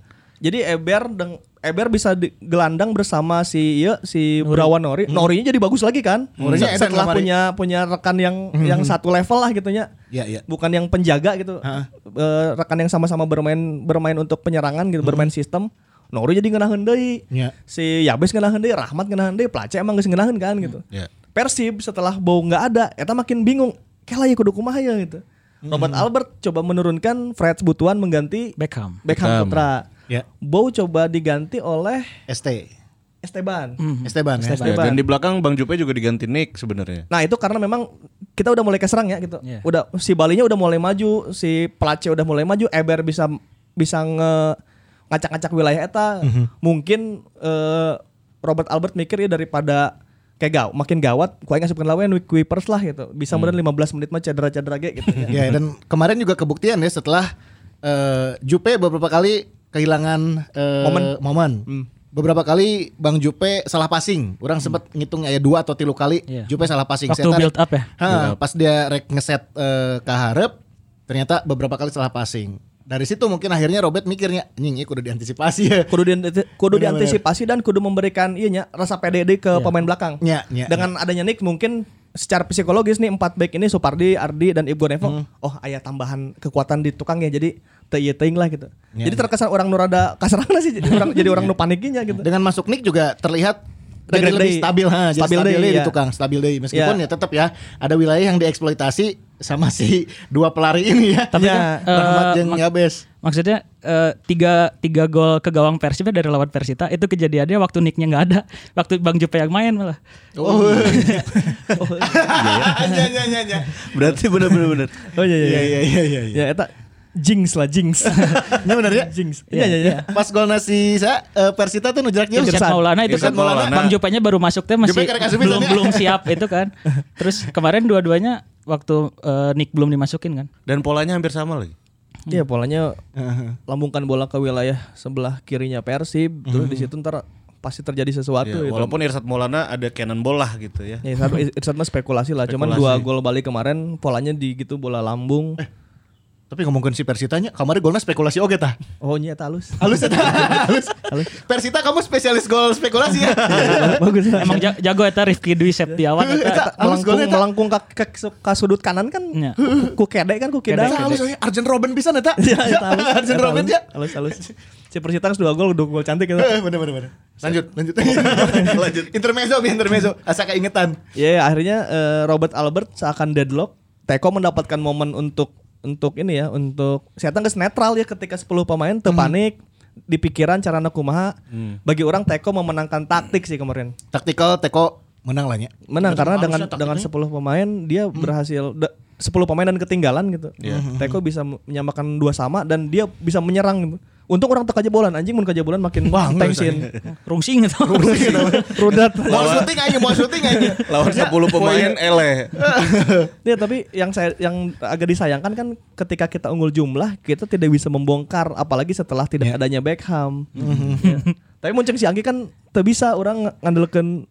Jadi Eber deng Eber bisa di- gelandang bersama si iya, si Brawan Nori. Norinya jadi bagus lagi kan? Hmm. Norinya Se- edan Setelah kemarin. punya punya rekan yang yang satu level lah gitunya. Hmm. Iya, iya. Bukan yang penjaga gitu. Eh, rekan yang sama-sama bermain bermain untuk penyerangan gitu, bermain sistem. Nori jadi ngeunaheun deui. Hmm. Iya. Si Yabes ngeunaheun deui, Rahmat ngeunaheun deui, Place emang geus ngeunaheun kan gitu. Hmm. Iya. Persib setelah Bow nggak ada, eta makin bingung. Kela ya kudu kumaha ya gitu. Hmm. Robert Albert coba menurunkan Fred Butuan mengganti Beckham. Beckham Putra. Ya. Bow coba diganti oleh ST Esteban. Esteban ya. Ya, dan di belakang Bang Jupe juga diganti Nick sebenarnya. Nah itu karena memang kita udah mulai keserang ya gitu. Iya. Udah si Balinya udah mulai maju, si Place udah mulai maju, Eber bisa bisa nge ngacak-ngacak wilayah eta. Mungkin eh, Robert Albert mikir ya daripada kayak gaw, makin gawat, ku aing ngasupkeun lawan Kuipers lah gitu. Bisa meureun 15 menit mah cedera-cedera ge gitu. ya. Ya dan kemarin juga kebuktian ya setelah eh, Jupe beberapa kali kehilangan eh, Momen. Hmm. Beberapa kali Bang Jupe salah passing. Orang sempat ngitung ya dua atau tilu kali Hmm. Iya. Jupe salah passing. Waktu Saya tarik- build up ya? Ha, pas dia rek ngeset eh, ke hareup, ternyata beberapa kali salah passing. Dari situ mungkin akhirnya Robert mikirnya anjing ieu kudu diantisipasi ya. kudu dianti- kudu Benar-benar. diantisipasi dan kudu memberikan iya nya, rasa PDD ke pemain belakang. Iya, iya. Dengan adanya Nick mungkin secara psikologis nih empat back ini Supardi, Ardi dan Ibgo Nevo. Oh, ayah tambahan kekuatan di tukang ya jadi teu teuing lah gitu. jadi terkesan orang nu rada kasaranna sih jadi orang jadi orang nu panikinya gitu. Dengan masuk Nick juga terlihat jadi Degradasi. lebih stabil ha, jadi Stabil stabil, deui, deui di iya. tukang, stabil deui meskipun Iya. ya tetap ya ada wilayah yang dieksploitasi sama si dua pelari ini ya. Tapi Iya. kan, eh, Rahmat jeung mak- Yabes. Maksudnya eh, tiga tiga gol ke gawang Persib dari lawan Persita itu kejadiannya waktu Nicknya nggak ada, waktu Bang Jupe yang main malah. Oh. Iya iya iya iya. Berarti bener-bener. Oh iya iya. Iya iya. iya iya iya. Ya eta jinx lah jinx. Ini benar ya? jinx. Iya iya iya. Pas golna si Sa, eh, Persita tuh nujrak dia. Irsyad Maulana itu Irsyad kan Maulana. Bang Jupenya baru masuk teh masih Jupe karek asupin belum tadi. belum siap itu kan. Terus kemarin dua-duanya waktu eh, Nick belum dimasukin kan. Dan polanya hampir sama lagi. Iya polanya lambungkan bola ke wilayah sebelah kirinya Persib, terus di situ ntar pasti terjadi sesuatu Ya, gitu. walaupun Irsat Maulana ada cannonball lah gitu ya. Ya, satu Irsat mah spekulasi lah. Cuman Spekulasi. dua gol balik kemarin polanya di gitu bola lambung. Tapi ngomongin si Persitanya, kemarin golna spekulasi oge tah. Oh nyet halus. Halus eta. Halus. Persita kamu spesialis gol spekulasi ya. Bagus lah. Emang ja- jago eta Rifki Dwi Septiawan eta. Eta. melengkung halus golnya, tak? melengkung ke, ke, ke sudut kanan kan Iya. ku, ku kede kan ku kidal. Eta halus aja Arjen Robben bisa eta. Iya, eta halus. Arjen Eta Robben halus. ya. Halus halus. Si Persita harus dua gol, dua gol cantik gitu. Eh, Bener bener bener. Lanjut, lanjut. lanjut. Intermezzo, bi, intermezzo. Asa keingetan. Ya akhirnya eh, Robert Albert seakan deadlock. Teko mendapatkan momen untuk untuk ini ya, untuk saya geus netral ya ketika 10 pemain teu panik di pikiran carana kumaha. Bagi orang Teko memenangkan taktik sih kemarin. Taktikal Teko menang lah nya. Menang karena dengan harusnya dengan 10 pemain dia Hmm. berhasil da- 10 pemain dan ketinggalan gitu. Teko Hmm. bisa me- menyamakan dua sama dan dia bisa menyerang gitu. Untung orang tekaja bolan anjing mun kajabolan makin Wah, enggak tengsin. Rungsing itu. Rudat. Mau syuting aja, mau syuting aja. Lawan 10 pemain E. ele. Ya tapi yang saya yang agak disayangkan kan ketika kita unggul jumlah kita tidak bisa membongkar apalagi setelah tidak Iya. adanya Beckham. Hmm. Ya. Tapi muncul si Anggi kan tak bisa orang ngandelkan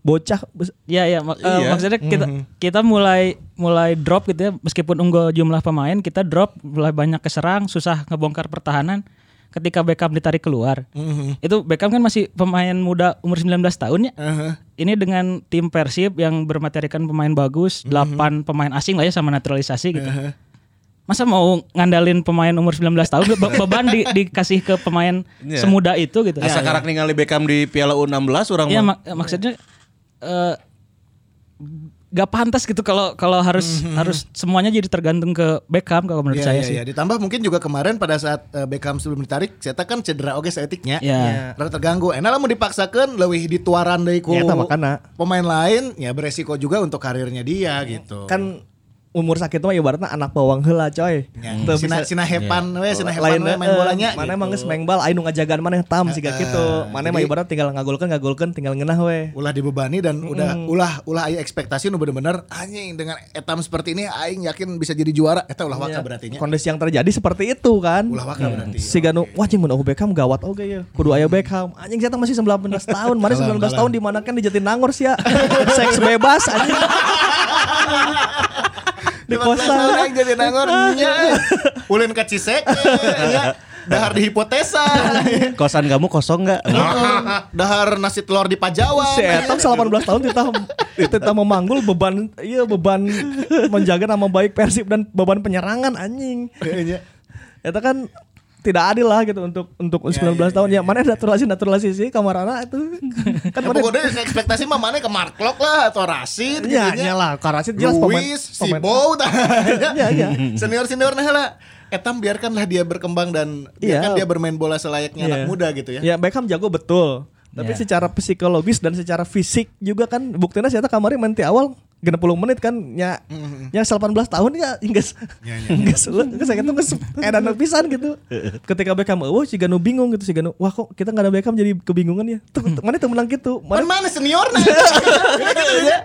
bocah bes- Ya ya mak- eh, maksudnya kita kita mulai mulai drop gitu ya meskipun unggul jumlah pemain kita drop mulai banyak keserang susah ngebongkar pertahanan ketika Beckham ditarik keluar. Itu Beckham kan masih pemain muda umur 19 tahun ya. Ini dengan tim Persib yang bermaterikan pemain bagus, 8 pemain asing lah ya sama naturalisasi gitu. Masa mau ngandalin pemain umur 19 tahun be- beban di- dikasih ke pemain Iya. semuda itu gitu. Asa karak ningali Beckham di Piala U16 orang Iya mah. mak- maksudnya eh, gak pantas gitu kalau kalau harus harus semuanya jadi tergantung ke Beckham kalau menurut Iya, saya iya, sih. iya. Ditambah mungkin juga kemarin pada saat eh, Beckham sebelum ditarik, Zeta kan cedera oke seetiknya. Iya. Rada terganggu. Enak lah mau dipaksakan lebih dituaran dari ku Eta Iya, makana. pemain lain, ya beresiko juga untuk karirnya dia gitu. kan umur sakit mah ibaratnya anak bawang heula coy. Ya, Teu bisa- sina, Iya. sina hepan we, sina lain hepan we Eh, main bolanya. eh, mana gitu. Eh, emang geus maeng bal ainu ngajagaan mana tam siga kitu. Mana mah jadi- ibarat tinggal ngagolkeun ngagolkeun tinggal ngeunah we. ulah dibebani dan udah ulah ulah aya ekspektasi nu bener-bener anjing dengan etam seperti ini aing yakin bisa jadi juara. Eta ulah waka berarti nya. Kondisi yang terjadi seperti itu kan. Iya. Ulah hmm. waka berarti. Iya. Si Ganu, wah jeung mun aku Beckham gawat oge ya. Kudu aya Beckham. Anjing saya masih 19 tahun. Mana 19 tahun di mana kan di Jatinangor sih ya. Seks bebas anjing. Di 15 tahun kosan. aing jadi nangor. nya. Ulin ke Cisek. nya. Dahar di hipotesa. Iya. Gitu. Kosan kamu kosong nggak? Dahar nasi telur di Pajawan. Si Etam 18 tahun titah titah memanggul beban iya beban menjaga nama baik Persib dan beban penyerangan anjing. Iya. Eta kan tidak adil lah gitu untuk untuk Iya, 19 tahun ya, mana naturalisasi naturalisasi sih kamarana itu kan Kan mana pokoknya ekspektasi mah mana ke Mark Klok lah atau Rashid Iya, gitu nya. iya lah. Kak Rashid jelas pemain- Luis, si pemain- Bow, tah. Iya, iya. senior senior nah lah. Etam biarkanlah dia berkembang dan Iya. biarkan dia bermain bola selayaknya anak Iya. muda gitu ya. Iya. Ya Beckham jago betul. Tapi secara psikologis dan secara fisik juga kan buktinya saya kemarin main di awal 60 menit kan nya nya 18 tahun ya geus ya. geus geus saya tuh geus edan pisan gitu. Ketika Beckham eueuh si Ganu bingung gitu si Ganu, wah kok kita nggak ada Beckham jadi kebingungan ya. Tuh mana tuh menang gitu. Pan Mana mana senior nah?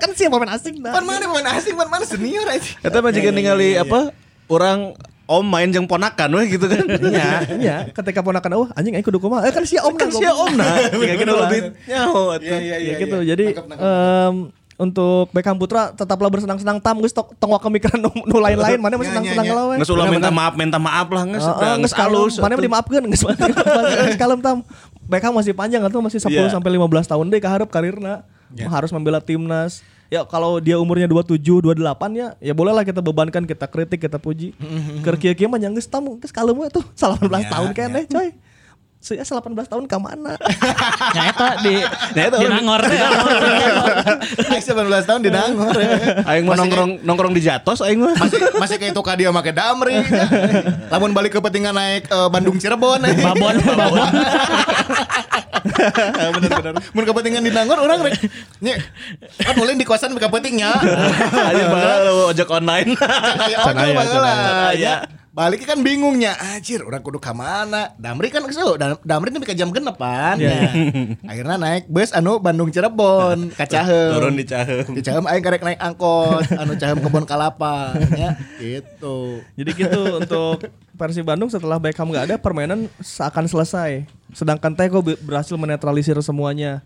kan sih pemain asing dah. Pan mana pemain asing, pan mana senior aja. Eta mah jika ningali apa orang om main jeung ponakan weh gitu kan. Iya, iya. Ketika ponakan eueuh anjing aing kudu kumaha. Eh kan si Om Iya, Kan sia om nah. iya, Kayak gitu lah. lebih nyaho eta. ya gitu. Jadi em, untuk Beckham Putra tetaplah bersenang-senang tam geus tok- tong kemikiran nu, nu lain-lain mana Iya, masih Ya, senang-senang ya, ya. lah we. Nges ulah minta maaf, minta maaf lah nges. Heeh, Nges geus kalem. alus. Mana mah dimaafkeun geus geus kalem tam. Beckham masih panjang atuh masih 10 Iya. sampai 15 tahun deh kaharep karirna. Harus membela timnas. ya kalau dia umurnya 27, 28 ya ya bolehlah kita bebankan, kita kritik, kita puji. Keur kieu-kieu mah nyanggeus tamu, geus kalemu tuh 18 tahun keneh coy. Saya 18 tahun ka mana? Nah itu di Nah, eta di orang- Nangor. Aing 19 tahun di Nangor. Aing mau nongkrong nongkrong di Jatos aing mah. Masih masih kayak tukar dia make Damri. ya. Lamun balik ke Petingan naik eh, Bandung Cirebon. Babon, babon. bener bener. Mun ke Petingan di Nangor orang rek. Nye, kan mulai di kosan ke ya. Petingnya. Aja bakal lu ojek online. Kayak Can ojol aya, can baheula, aya. nya. Balik Iya. kan bingungnya, anjir orang kudu ke mana? Damri kan kesel, Dam- Damri tapi ke jam genepan. Ya. Akhirnya naik bus anu Bandung Cirebon, ka Caheum. Turun di Caheum. Di Caheum aing karek naik angkot, anu Caheum Kebon Kalapa, ya gitu. Jadi gitu untuk Persib Bandung setelah Beckham nggak ada permainan seakan selesai. Sedangkan Teko be- berhasil menetralisir semuanya.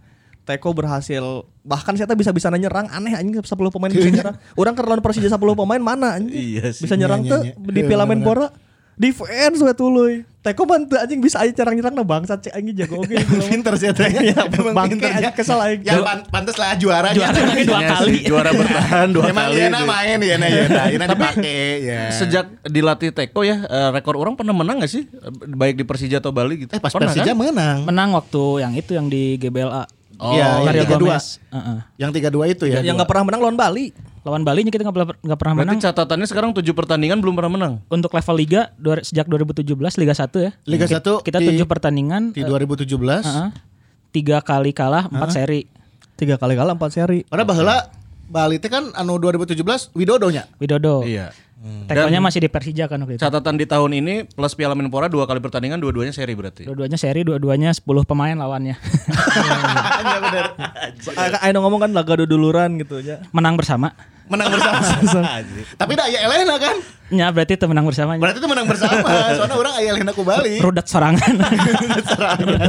Teko berhasil bahkan saya bisa bisa nyerang aneh anjing 10 pemain bisa nyerang. Orang ke lawan Persija 10 pemain mana anjing? Iya sih. Bisa nyerang Iya. Iya, tuh iya, iya. di Piala Menpora. Defense we tuluy. Teko bantu anjing bisa aja nyerang-nyerang nah bangsa cek anjing jago gitu oge. pinter sih tanya. Iya, bangke aja, kesel aing. Ya pan- pantes lah juara. Juara lagi dua Iya kali. sih, Juara bertahan dua Emang iya, kali. Yena itu. main Yena Yena. Yena iya, dipake ya. Sejak dilatih Teko ya eh, rekor orang pernah menang gak sih baik di Persija atau Bali gitu? eh pas Pernah, Persija kan? menang. Menang waktu yang itu yang di GBLA. Oh, Iya, yang Mario tiga-dua. Gomez. Heeh. Yang 3-2 itu ya. yang nggak pernah menang lawan Bali. Lawan Bali nya kita nggak pernah- nggak pernah Berarti menang. catatannya sekarang 7 pertandingan belum pernah menang. Untuk level liga dua- sejak 2017 Liga 1 ya. Liga 1 Kita di- tujuh pertandingan, Eh, di 2017. heeh. tiga kali kalah, empat seri. Tiga kali kalah empat seri. Padahal baheula Bali teh kan anu 2017 Widodo nya. Widodo. Iya. Tekonya masih di Persija kan waktu itu. Catatan di tahun ini plus Piala Menpora dua kali pertandingan dua-duanya seri berarti. Dua-duanya seri, dua-duanya 10 pemain lawannya. Ayo ngomong kan laga duluran gitu ya. menang bersama. Menang bersama. Tapi dah aya Elena kan. Ya berarti itu menang bersamanya. Berarti itu menang bersama. Soalnya orang aya Elena ku Bali. Rudat sorangan.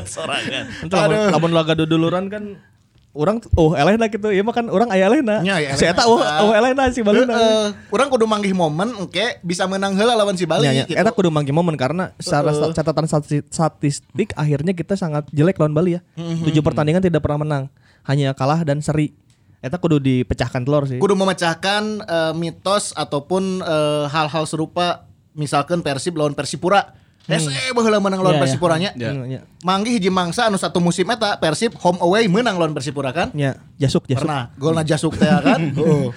Sorangan. Entar lamun- lamun laga duduluran kan orang oh elehna gitu. Ieu mah kan orang aya elehna. Nya, aya Si elehna. eta oh oh elehna si ya Heeh. Baluna. Orang kudu manggih momen engke bisa menang heula lawan si Bali Nya, nya. gitu. Eta kudu mangki momen karena secara sta- catatan stati- statistik akhirnya kita sangat jelek lawan Bali ya. Mm-hmm, Tujuh pertandingan tidak pernah menang, hanya kalah dan seri. Eta kudu dipecahkan telur sih. kudu memecahkan eh, mitos ataupun eh, hal-hal serupa misalkan Persib lawan Persipura. Hmm. SE baheula menang Ya, lawan Iya, iya. Persipuranya. Iya. Mm, Nya, Manggi hiji mangsa anu satu musim eta Persib home away menang lawan Persipura kan? nya. jasuk jasuk. Pernah golna Jasuk teh kan. Heeh.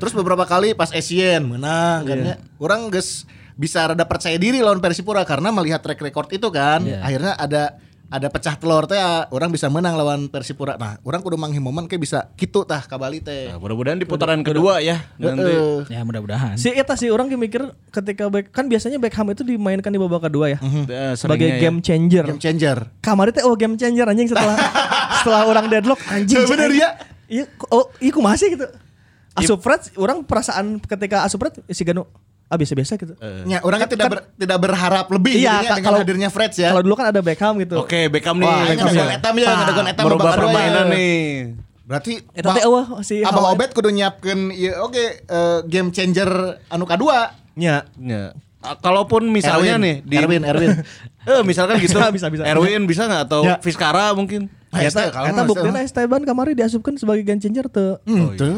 Terus beberapa kali pas Asian menang kan Iya. ya. Orang geus bisa rada percaya diri lawan Persipura karena melihat track record itu kan. Iya. Akhirnya ada ada pecah telur teh ya, orang bisa menang lawan Persipura. Nah, orang kudu manghi momen kayak bisa kitu tah ka Bali teh. Nah, mudah-mudahan di putaran kedua ya nanti. Heeh. ya mudah-mudahan. Si eta sih orang mikir ketika Beck- kan biasanya Beckham itu dimainkan di babak kedua ya. Eh, Sebagai seringnya ya. game changer. Mm-hmm. Game changer. Kamari teh oh game changer anjing setelah setelah orang deadlock anjing. Eh, bener Iya. anjing. ya? Iya, ku- oh, iya kumaha sih gitu. Asupret orang perasaan ketika Asupret si Ganu ah biasa-biasa gitu. Eh. Ya, orang kan tidak ber- tidak berharap lebih Iya, jadinya ka- dengan kalau- hadirnya Freds ya. Kalau dulu kan ada Beckham gitu. Oke, Beckham nih. Wah, ini Beckham ada gol ya. etam ya, ada gol etam Merubah babak kedua ya. permainan nih. Berarti Eta teh Ba- eueuh si Abang Hawa- Obed kudu nyiapkeun ieu oke eh, game changer anu kadua. Nya. Ya. Ah, Kalaupun misalnya Erwin. nih di Erwin, Erwin. Eh, misalkan gitu. Bisa, bisa, bisa. Erwin bisa nggak atau Ya. Fiskara mungkin? Ah, Eta Esteban, kalau eta mah buktina Esteban. Esteban kamari diasupkan sebagai game changer Hmm, tuh. Henteu.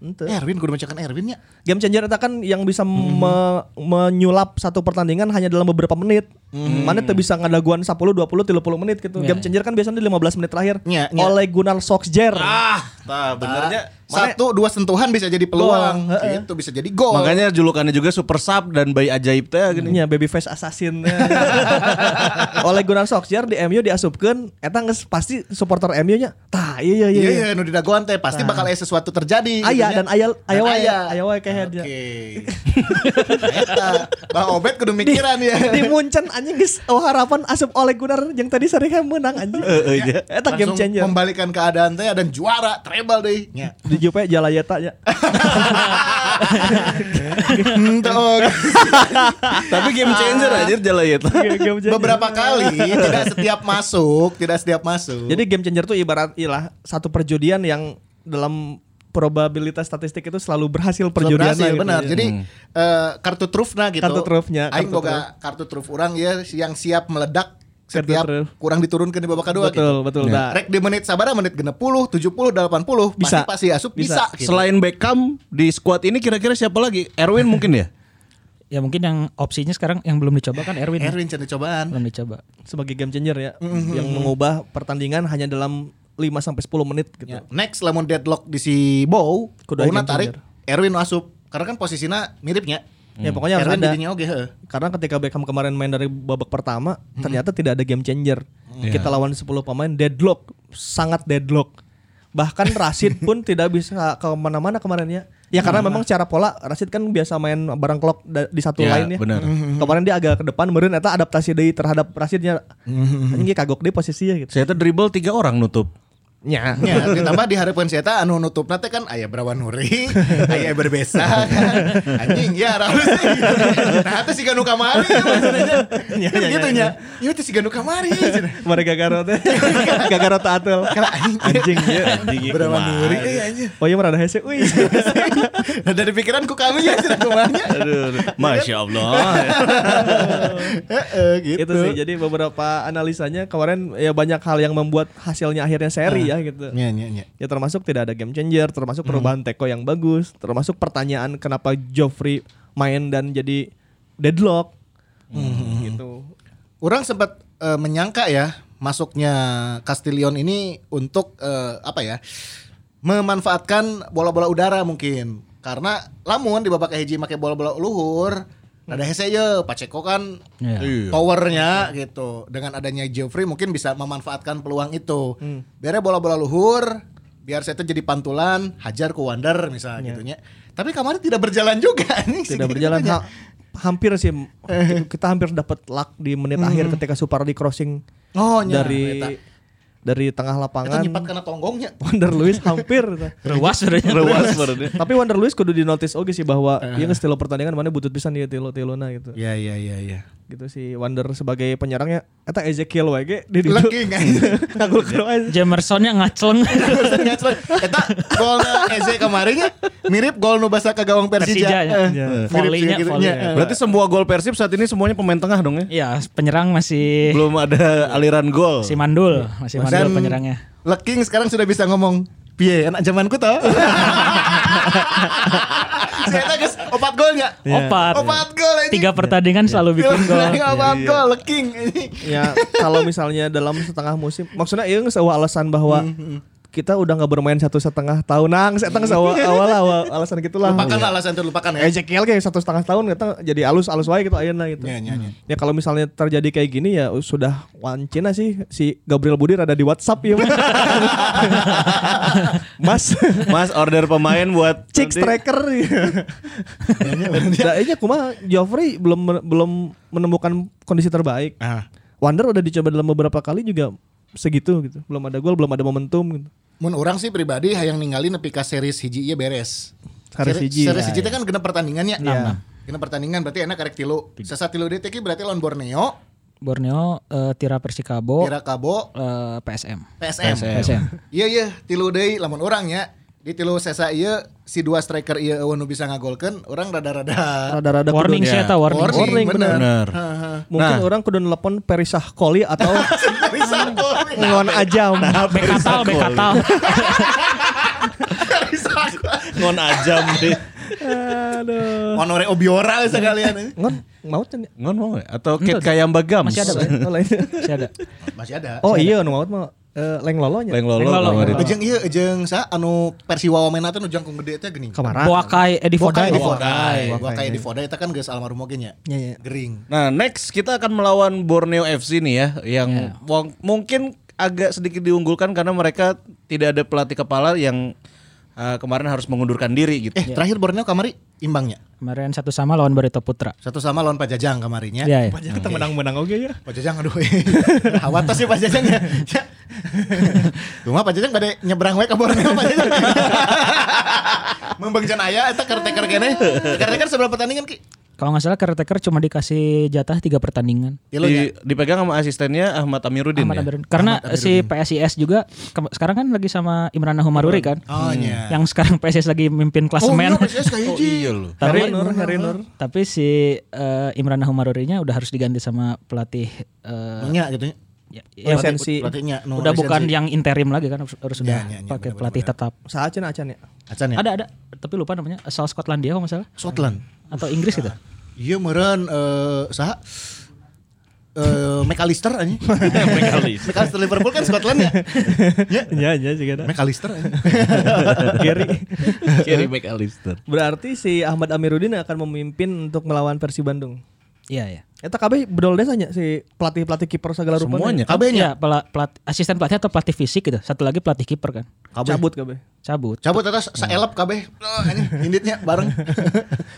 Henteu. Oh, iya. Erwin kudu mencekan Erwin ya? nya. Game changer itu kan yang bisa Mhm. me- menyulap satu pertandingan hanya dalam beberapa menit. Mhm. Mana tuh bisa ngadaguan 10, 20, 30 menit gitu. Game changer kan biasanya di 15 menit terakhir. Iya, iya. Oleh Gunnar Solskjaer. Ah, tah benernya. Ah, Satu dua sentuhan bisa jadi peluang. Itu bisa jadi gol. Makanya julukannya juga Super Sub dan Bayi Ajaib teh gini. Nya babyface assassin. Oleh Gunnar Solskjaer di MU diasupkeun eta geus pasti supporter MU nya tah iya iya iya. Nah. Iya iya nu didagoan teh pasti bakal aya sesuatu terjadi. Aya gitunya. dan aya aya wae aya. aya wae kayak dia. Oke. Eta Bang Obed kudu mikiran ya. Di Munchen anjing geus oh harapan asup oleh Gunnar yang tadi sering menang anjing. Heeh, iya. Eta game Langsung changer. Membalikan keadaan teh dan juara treble deh. Nya. Di Jupe Jalayeta nya. Hmm, Ah. Tapi game changer aja jalan Gitu. itu. Game changer. Beberapa kali tidak setiap masuk, tidak setiap masuk. Jadi game changer tuh ibarat ilah satu perjudian yang dalam probabilitas statistik itu selalu berhasil perjudian ya. Iya. Berhasil, benar. Jadi eh, kartu trufna gitu. Hmm. Kartu trufnya, Aing kartu boga kartu truf orang ya yang siap meledak setiap Terus. kurang diturunkan di babak kedua Betul, betul, Dak. Nah, Rek di menit sabar menit 60, 70, 80 Bisa. pasti pasti asup Bisa. bisa. gitu. Selain Beckham di squad ini kira-kira siapa lagi? Erwin mungkin ya? Ya mungkin yang opsinya sekarang yang belum dicoba kan Erwin. ya. Erwin cari cobaan. Belum dicoba. sebagai game changer ya Mm-hmm. yang mengubah pertandingan hanya dalam 5 sampai 10 menit gitu. Ya. Next lamun deadlock di si Bow, Kudu Bowna agent tarik Erwin asup karena kan posisinya miripnya. Ya pokoknya harus Erwin ada. didinya oge heuh. Karena ketika Beckham kemarin main dari babak pertama, ternyata tidak ada game changer. Kita lawan 10 pemain deadlock, sangat deadlock. Bahkan Rashid pun tidak bisa ke mana-mana kemarin ya. Ya karena memang secara pola Rashid kan biasa main bareng clock da- di satu Ya, line ya. benar. Kemarin dia agak ke depan, meureun eta adaptasi deui terhadap Rashidnya. Anjing ieu kagok deui posisinya gitu. Saya tuh dribble tiga orang nutup. Nya. Ya, ditambah diharapkan si Eta anu nutup nate kan ayah berawan nuri, ayah berbesa kan. Anjing ya raus gitu. Nah itu si Ganu Kamari ya, maksudnya. Ya, Kan ya, gitu ya, nya. Iya itu si Ganu Kamari. Kemarin Gagaro teh. Gagaro teu atul. Karena anjing, Anjing ya. Anjing, berawan kumaha. nuri. eh, anjing. Oh iya merada hese. Wih. Nah, dari pikiranku kami ya cina kumanya. Aduh, aduh. Masya Allah. Heeh, Itu gitu. sih jadi beberapa analisanya kemarin ya banyak hal yang membuat hasilnya akhirnya seri ya gitu. Ya, ya, ya. Ya termasuk tidak ada game changer, termasuk Hmm. perubahan teko yang bagus, termasuk pertanyaan kenapa Joffrey main dan jadi deadlock. Hmm. Gitu. Orang sempat eh, menyangka ya masuknya Castillion ini untuk eh, apa ya? Memanfaatkan bola-bola udara mungkin. Karena lamun di babak hiji make bola-bola luhur, ada hese ye Pacheco kan Iya. Ya. powernya gitu. Dengan adanya Geoffrey mungkin bisa memanfaatkan peluang itu. Hmm. Biarnya bola-bola luhur, biar saya itu jadi pantulan, hajar ke Wander misalnya gitu ya. Tapi kemarin tidak berjalan juga nih. Iya. Tidak berjalan Gitu-gitunya. Ha- hampir sih kita- kita hampir dapat luck di menit akhir ketika Supardi crossing Oh, nya, dari eta. dari tengah Itu lapangan. nyipat karena tonggongnya. Wander Lewis hampir. Ruas sebenarnya. Rewas barunya. Tapi Wander Luis kudu di notice oke sih bahwa dia ngestilo pertandingan mana butut pisan dia tilo tilona gitu. Ya ya ya ya. Gitu sih Wander sebagai penyerangnya eta Ezekiel wae ge di ditu. Lagi nggak? Ngagul kero aja. Jamersonnya ngacleng. Eta golna Eze kemarin ya, mirip gol nu basa ke gawang Persija. Persija, ya. Eh, Ya. mirip Volley-nya, sih gitu, volley. ya. Berarti semua gol Persib saat ini semuanya pemain tengah dong ya? Iya, penyerang masih Belum ada aliran gol. Eh. si Mandul, masih Mandul Iya. Dan penyerangnya. Leking sekarang sudah bisa ngomong Piye anak zamanku tau Si Eta guys opat golnya Ya. Opat. Iya. Opat gol anjing. Iya. Tiga pertandingan selalu bikin gol. Iya, Opat gol Leking anjing. Ya kalau misalnya dalam setengah musim maksudnya ieu geus eueuh alasan bahwa Hmm, kita udah nggak bermain satu setengah tahun nang setengah awal awal awal alasan gitulah Lupakan lah alasan itu lupakan ya Ezekiel kayak satu setengah tahun kita jadi alus alus wae gitu ayeuna gitu Iya, iya, iya. ya kalau misalnya terjadi kayak gini ya sudah wancina sih si Gabriel Budi ada di WhatsApp ya Mas Mas order pemain buat Chick nanti. striker Nah, ini kumaha Joffrey belum belum menemukan kondisi terbaik. Ah. Wander udah dicoba dalam beberapa kali juga segitu gitu. Belum ada gol, belum ada momentum gitu. Mun orang sih pribadi hayang ningali nepi ka series hiji ieu beres. Series hiji, Iya. Series ya, hiji teh kan genep pertandingannya. Enam, enam. Genep pertandingan berarti enak karek tilu. Sesa tilu deui teh ki berarti lawan Borneo, Borneo, eh, Tira Persikabo, Tira Kabo, eh, PSM. PSM. PSM. Iya iya, tilu deui lamun orang ya. Di tilu sesa ieu si dua striker ieu eueun nu bisa ngagolkeun, orang rada-rada Rada-rada kudu- warning sih ya. eta warning. Warning. bener. Bener. Nah. Mungkin orang kudu nelpon Perisah Koli atau Dari Sarko. Ngon Nah, Ajam. Ah, Bekatal, bekatal. Dari Sarko. Ngon ajam deh. Aduh. Honore Obiora sekalian. Ngon mau tanya. Ngon mau nggak? Atau Kit Kayamba Gams? Masih ada, Bang. Oh, lain. Masih ada. Masih ada. Oh iya nu maut mah eh, Leng Lolonya. Nah, Leng Lolo. Leng Lolo. kemarin. Leng Lolo. Ejeng ieu ejeng sa anu Persiwa Wamena teh nu jangkung gede teh geuning. Kemarin. Boakai Edi Wakai Fodai. di Wakai. Fodai. Wakai di Fodai itu kan geus almarhum oge nya. Iya, iya. Gering. Nah next kita akan melawan Borneo FC nih ya Yang wong- mungkin agak sedikit diunggulkan karena mereka tidak ada pelatih kepala yang uh, kemarin harus mengundurkan diri gitu Eh, terakhir Borneo kamari imbangnya. Kemarin satu sama lawan Barito Putra. Satu sama lawan Pajajang kamarinya. Iya, ya. Kita menang-menang oke ya. Pajajang aduh. eh. Hawatas sih Pajajang ya. Ya. Cuma Pajajang pada nyebrang wae ke Borneo Pajajang. Membengcan aya eta karteker kene. Karteker sebelum pertandingan ki. Kalau nggak salah caretaker cuma dikasih jatah tiga pertandingan. Tilo Di- dipegang sama asistennya Ahmad Amiruddin Ahmad ya? Amiruddin. Karena si PSIS juga ke- sekarang kan lagi sama Imran Nahumaruri kan. Oh iya. Yang sekarang PSIS lagi mimpin klasemen. Oh, iya, kayak Oh iya loh. tapi Nur, Heri Nur. tapi si eh, Imran Nahumarurinya udah harus diganti sama pelatih eh, Nya gitu ya. ya- Yang yang sensi. Pelatihnya no udah lisensi. bukan yang interim lagi kan harus Ya, harus sudah ya, ya, benar-benar. pakai pelatih tetap. Usaha acan acan ya. Acan ya. Ada ada tapi lupa namanya asal Skotlandia kalau nggak salah Scotland. atau Inggris gitu. Iya meren eh saha? Eh McAllister anjing. McAllister. Liverpool kan Scotland ya. Ya. Iya iya juga. McAllister anjing. Gary. Kerry McAllister. Berarti si Ahmad Amiruddin akan memimpin untuk melawan Persi Bandung. Iya ya. Eta KB bedol desanya si pelatih-pelatih kiper segala rupa. Semuanya. Iya, KB-nya pela- pelat- asisten pelatih atau pelatih fisik gitu. Satu lagi pelatih kiper kan. Cabut KB. Cabut. cabut atas saelep KB. Oh, anjing inditnya bareng.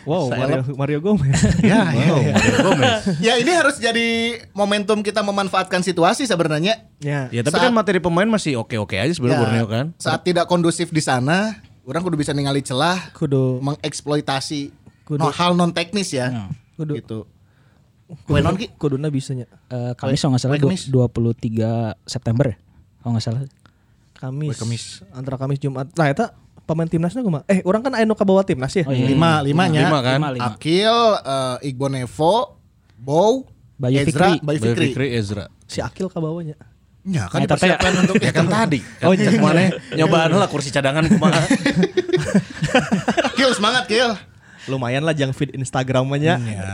Wow, Mario, Mario Gomez. ya, ya, ya. ya ini harus jadi momentum kita memanfaatkan situasi sebenarnya. ya. Ya tapi Saat- kan materi pemain masih oke-oke aja sebelum Ya, Borneo kan. Saat tidak kondusif di sana, orang kudu bisa ningali celah, Kudu mengeksploitasi Kudu. no- hal non teknis ya. Kudu. Gitu. Wenon ki kuduna bisanya. Eh Kamis kalau nggak salah Mulai du- Kamis. 23 September ya. Kalau nggak salah. Kamis. Antara Kamis Jumat. Nah, eta pemain timnasnya kumaha? Eh, orang kan anu kabawa timnas ya. Oh, iya. lima limanya Lima kan? Lima, lima. Akil, eh, Igbo Nevo, Bow, Bayu Ezra, Fikri. Bayu Fikri. Fikri Ezra. Si Akil kabawanya. Ya kan Nah, eta teh- dipersiapkan untuk Ya kan tadi. Kan oh, mana nyobaan lah kursi cadangan kumaha. Akil semangat Akil. Lumayan lah jang feed Instagramnya. Ya.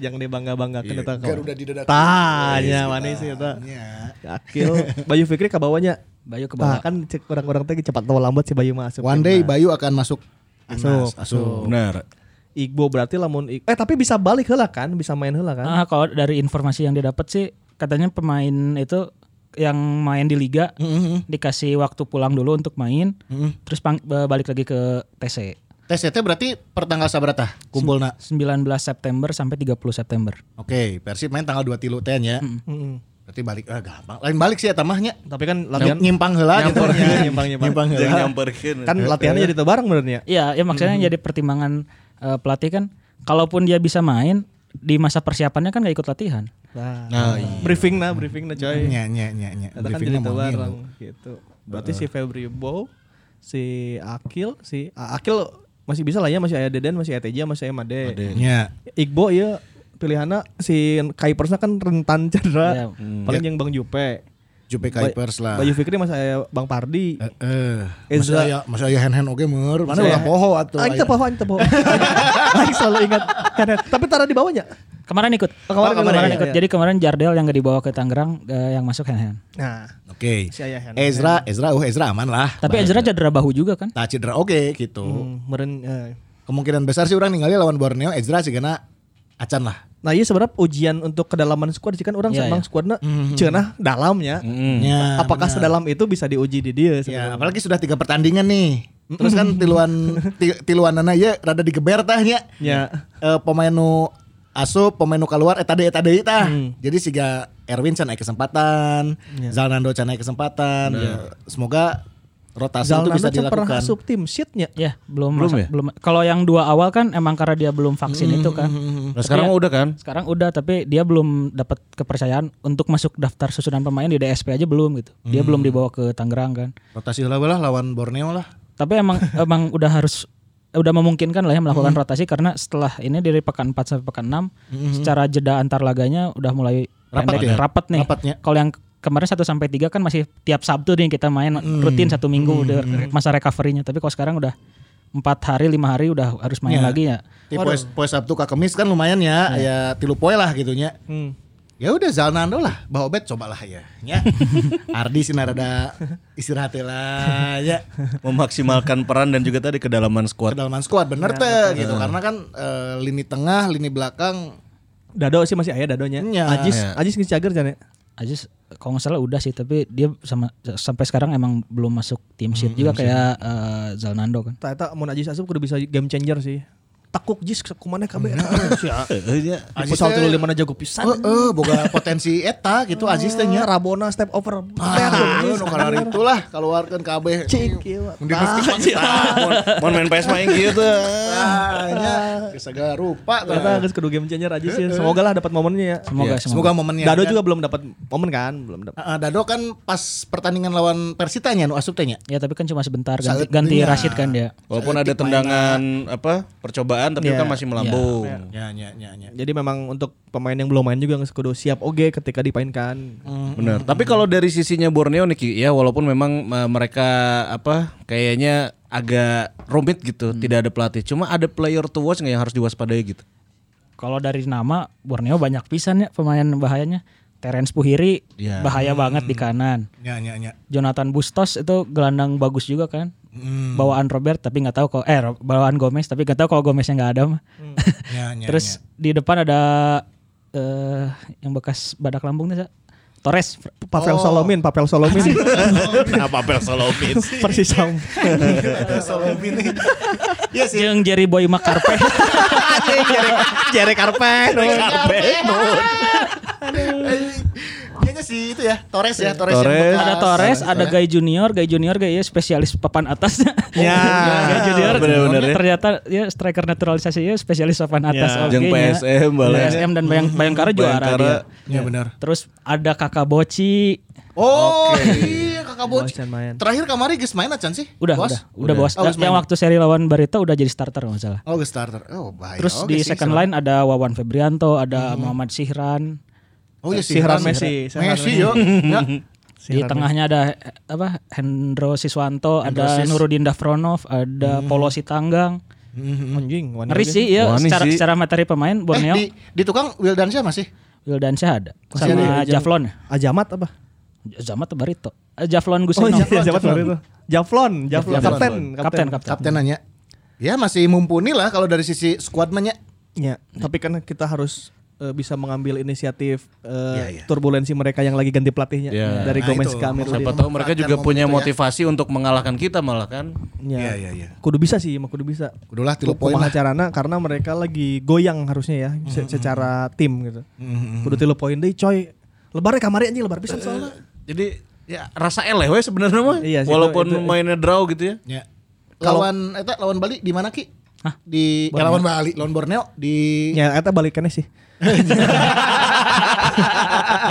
Yang dibangga-banggakeun eta. Iya. Garuda di Iya, dada. Tanya mana sih eta? Ya. Akil, Bayu Fikri kabawanya. Bayu ke Nah, bawah. kan cek orang-orang teh cepat atau lambat si Bayu masuk. One day Bayu akan masuk timnas. Masuk. Asuh. Benar. Igbo berarti lamun Ig- eh tapi bisa balik heula kan, bisa main heula kan? Ah, kalau dari informasi yang dia dapat sih katanya pemain itu yang main di liga dikasih waktu pulang dulu untuk main, terus pang- ba- balik lagi ke TC. TCT ya, berarti pertanggal sabrata kumpulna. 19 September sampai 30 September. Oke, Persib main tanggal 2 tilu ten ya. Mm-mm. Berarti balik ah gampang. Lain balik sih ya tamahnya. Tapi kan latihan Nyi- Nyimpang heula gitu. Nyampurkeun, Ya. nyimpang, nyimpang. Nyimpang Jangan heula. nyamperkeun. kan latihannya jadi teu bareng benernya. Iya, ya maksudnya jadi pertimbangan eh, pelatih kan kalaupun dia bisa main di masa persiapannya kan gak ikut latihan. Nah, Nah, briefing nah, briefing nah coy. Nya nya nya nya. Eta kan Briefingnya jadi teu mau ngilu. bareng gitu. Berarti si Febri Bow, si Akil, si A- Akil masih bisa lah ya, masih aya Deden, masih aya Teja, masih aya Made. Nya. Igbo ya pilihannya si Kaipersnya kan rentan Iya. cedera. Paling yang Bang Jupe. Jupe Kuipers lah. Bayu Fikri masih aya Bang Pardi. Heeh. Ezra. Masih aya masih aya hand hand oge meur. Mana Eh, Masih ya? ulah aya- poho atuh. Ah, aya. itu pohon, itu pohon. Aing selalu ingat. Karena tapi taruh di bawahnya. Kemarin ikut. Oh, kemarin kemarin kemarin, ikut. iya. Jadi kemarin Jardel yang gak dibawa ke Tangerang eh, yang masuk hand hand. Nah, Oke. Si aya hand- Ezra, Ezra, oh Ezra aman lah. Tapi Ezra cedera bahu juga kan? Tak cedera oke gitu. hmm, meren. eh. Kemungkinan besar sih orang ningali lawan Borneo Ezra sih kena acan lah. Nah, iya sebenarnya ujian untuk kedalaman squad sih kan orang Iya, sembang iya. squadnya Hmm, cenah dalamnya. Ya, Apakah sedalam itu bisa diuji di dia Ya, sebenarnya? apalagi sudah tiga pertandingan nih. Hmm. Terus kan tiluan ti- tiluanana ya rada digeber tah nya. Ya. Eh, pemain nu asup, pemain nu keluar eh, eta deui eta deui tah. Hmm. Jadi siga Erwin can aya kesempatan, Ya. Zalnando can aya kesempatan. Eh, Semoga rotasi itu Zalnano bisa Ya. can pernah dilakukan. asup tim sheetnya. Ya, belum Belum masuk- ya? belum. Kalau yang dua awal kan emang karena dia belum vaksin Hmm, itu kan. Nah, sekarang mah udah kan? Sekarang udah tapi dia belum dapat kepercayaan untuk masuk daftar susunan pemain di DSP aja belum gitu. Dia Hmm. belum dibawa ke Tangerang kan. Rotasi lah lah lawan Borneo lah. Tapi emang emang udah harus udah memungkinkan lah ya Hmm. melakukan rotasi karena setelah ini dari pekan 4 sampai pekan 6 secara jeda antar laganya udah mulai Rapat ya? rapat nih. Rapatnya. Kalau yang kemarin 1 sampai 3 kan masih tiap Sabtu nih kita main Hmm. rutin satu minggu udah masa recovery-nya. Tapi kalau sekarang udah empat hari lima hari udah harus Iya. main lagi ya. Ti poe poe Sabtu ka Kemis kan lumayan ya, aya tilu poe lah gitu nya. Hmm. Ya udah Zalnando lah, Bah Obet cobalah ya. Ya. Ardi sih rada istirahat heula ya. Memaksimalkan peran dan juga tadi kedalaman skuad. kedalaman squad bener teh gitu karena kan eh, lini tengah lini belakang Dado sih masih ayah dadonya. Nya. Ajis, Ya. Ajis ngecager jane. Aziz kalau nggak salah udah sih tapi dia sama sampai sekarang emang belum Hmm, masuk tim sheet juga kayak eh, Zalnando kan. Ternyata mau Ajis asup kudu bisa game changer sih. takuk jis kumaneh kabeh. Iya. Aziz Pesawat teh- lu di mana jago pisan. Ya, Eh, eh, boga potensi Oh. eta gitu Aziz teh nya. Rabona step over. Ah, Beak, nu jis. kalar itulah keluarkan kabeh. Cik, Ah, ieu mah. Mending mesti Mau main PS main gitu. Ah, nya segala rupa tah. Ternyata geus kudu game changer aja sih. Semoga lah dapat momennya ya. Semoga semoga. Semoga momennya. Dado kan. juga belum dapat momen kan, belum dapat. Ah, Dado kan pas pertandingan lawan Persita nya nu asup teh nya. Ya tapi kan cuma sebentar ganti, Saat ya. ganti dunia. Rashid kan dia. Walaupun ada tendangan apa percobaan tapi Iya. kan masih melambung. Nya nya nya nya. Jadi memang untuk pemain yang belum main juga geus kudu siap oge ketika dipainkan. Benar. Tapi kalau dari sisinya Borneo Niki ya walaupun memang eh, mereka apa kayaknya agak rumit gitu, tidak ada pelatih. Cuma ada player to watch nggak yang harus diwaspadai gitu. Kalau dari nama Borneo banyak pisan ya pemain bahayanya. Terence Puhiri Iya. bahaya banget di kanan. Nya nya nya. Jonathan Bustos itu gelandang bagus juga kan. Bawaan Robert tapi nggak tahu kalau eh Ro- bawaan Gomez tapi nggak tahu kalau Gomeznya nggak ada mah. Nya nya. Terus di depan ada eh yang bekas badak lambung tuh, Sa. Torres. Oh. Pavel Solomin, Pavel Solomin. Apa Pel Solomit? Persis sama. Iya Jeung Jerry Boy Makarpe. Jere Karpen. Nya nya si itu ya, Torres ya, Torres. Torres. yang bekas. ada Torres, ada Guy Junior, Guy Junior Guy ya spesialis papan atas. Ya. Guy Junior. Bener-bener ya. Ternyata ya striker naturalisasi ya spesialis papan atas. oke Jeung nya. PSM bala. PSM dan Bayang Bayangkara Iya, juara Bayangkara. dia. Nya Ya, benar. Terus ada Kakak Boci. Oh, iya Kakak Boc. Bocan main. Terakhir kemarin geus main acan sih? Udah, Bos? udah, udah, bos. Oh, geus yang main. waktu seri lawan Barita udah jadi starter nggak salah. Oh, geus starter. Oh, bahaya. Terus Oke di sih, Hmm. second seru. line ada Wawan Febrianto, ada Muhammad Sihran. Oh iya Si Ran Messi. Si Ran Messi yo. Ya. di tengahnya ada eh, apa Hendro Siswanto, ada Sis. Hmm. Nurudin Dafronov, ada Polo Sitanggang. Mm-hmm. Anjing, wani Ngeri oge. sih ya Wani secara, sih. secara materi pemain Eh, Borneo di, di tukang Wildansyah masih? Wildansyah ada Masih sama ada ya, Javlon Ajamat apa? Zamat atau Barito Eh, Javlon Oh Gusino iya, Ajamat baru itu. Javlon, Javlon, kapten, kapten kapten Kapten nanya. Ya masih mumpuni lah kalau dari sisi squad mah nya. Ya, tapi kan kita harus eh, bisa mengambil inisiatif eh, turbulensi mereka yang lagi ganti pelatihnya Ya. dari Iya, Nah, Gomez itu. ke Amiruddin. Siapa tahu mereka juga Memanfaatkan punya momen itu ya. motivasi untuk mengalahkan kita malah kan. Ya. Iya, iya, iya. Kudu bisa sih, mah kudu bisa. Kudulah tilu poin Kumaha lah. Mm-hmm. carana karena mereka lagi goyang harusnya ya se- secara tim gitu. Kudu tilu poin deui coy. Lebarnya kamari anjing lebar pisan soalnya. Jadi ya rasa eleh we sebenarnya mah. Iya sih, walaupun itu- itu- mainnya draw gitu ya. Ya. Lawan eta lawan Bali di mana Ki? Hah? Di eh, lawan Bali, lawan Borneo di Ya eta balikannya sih.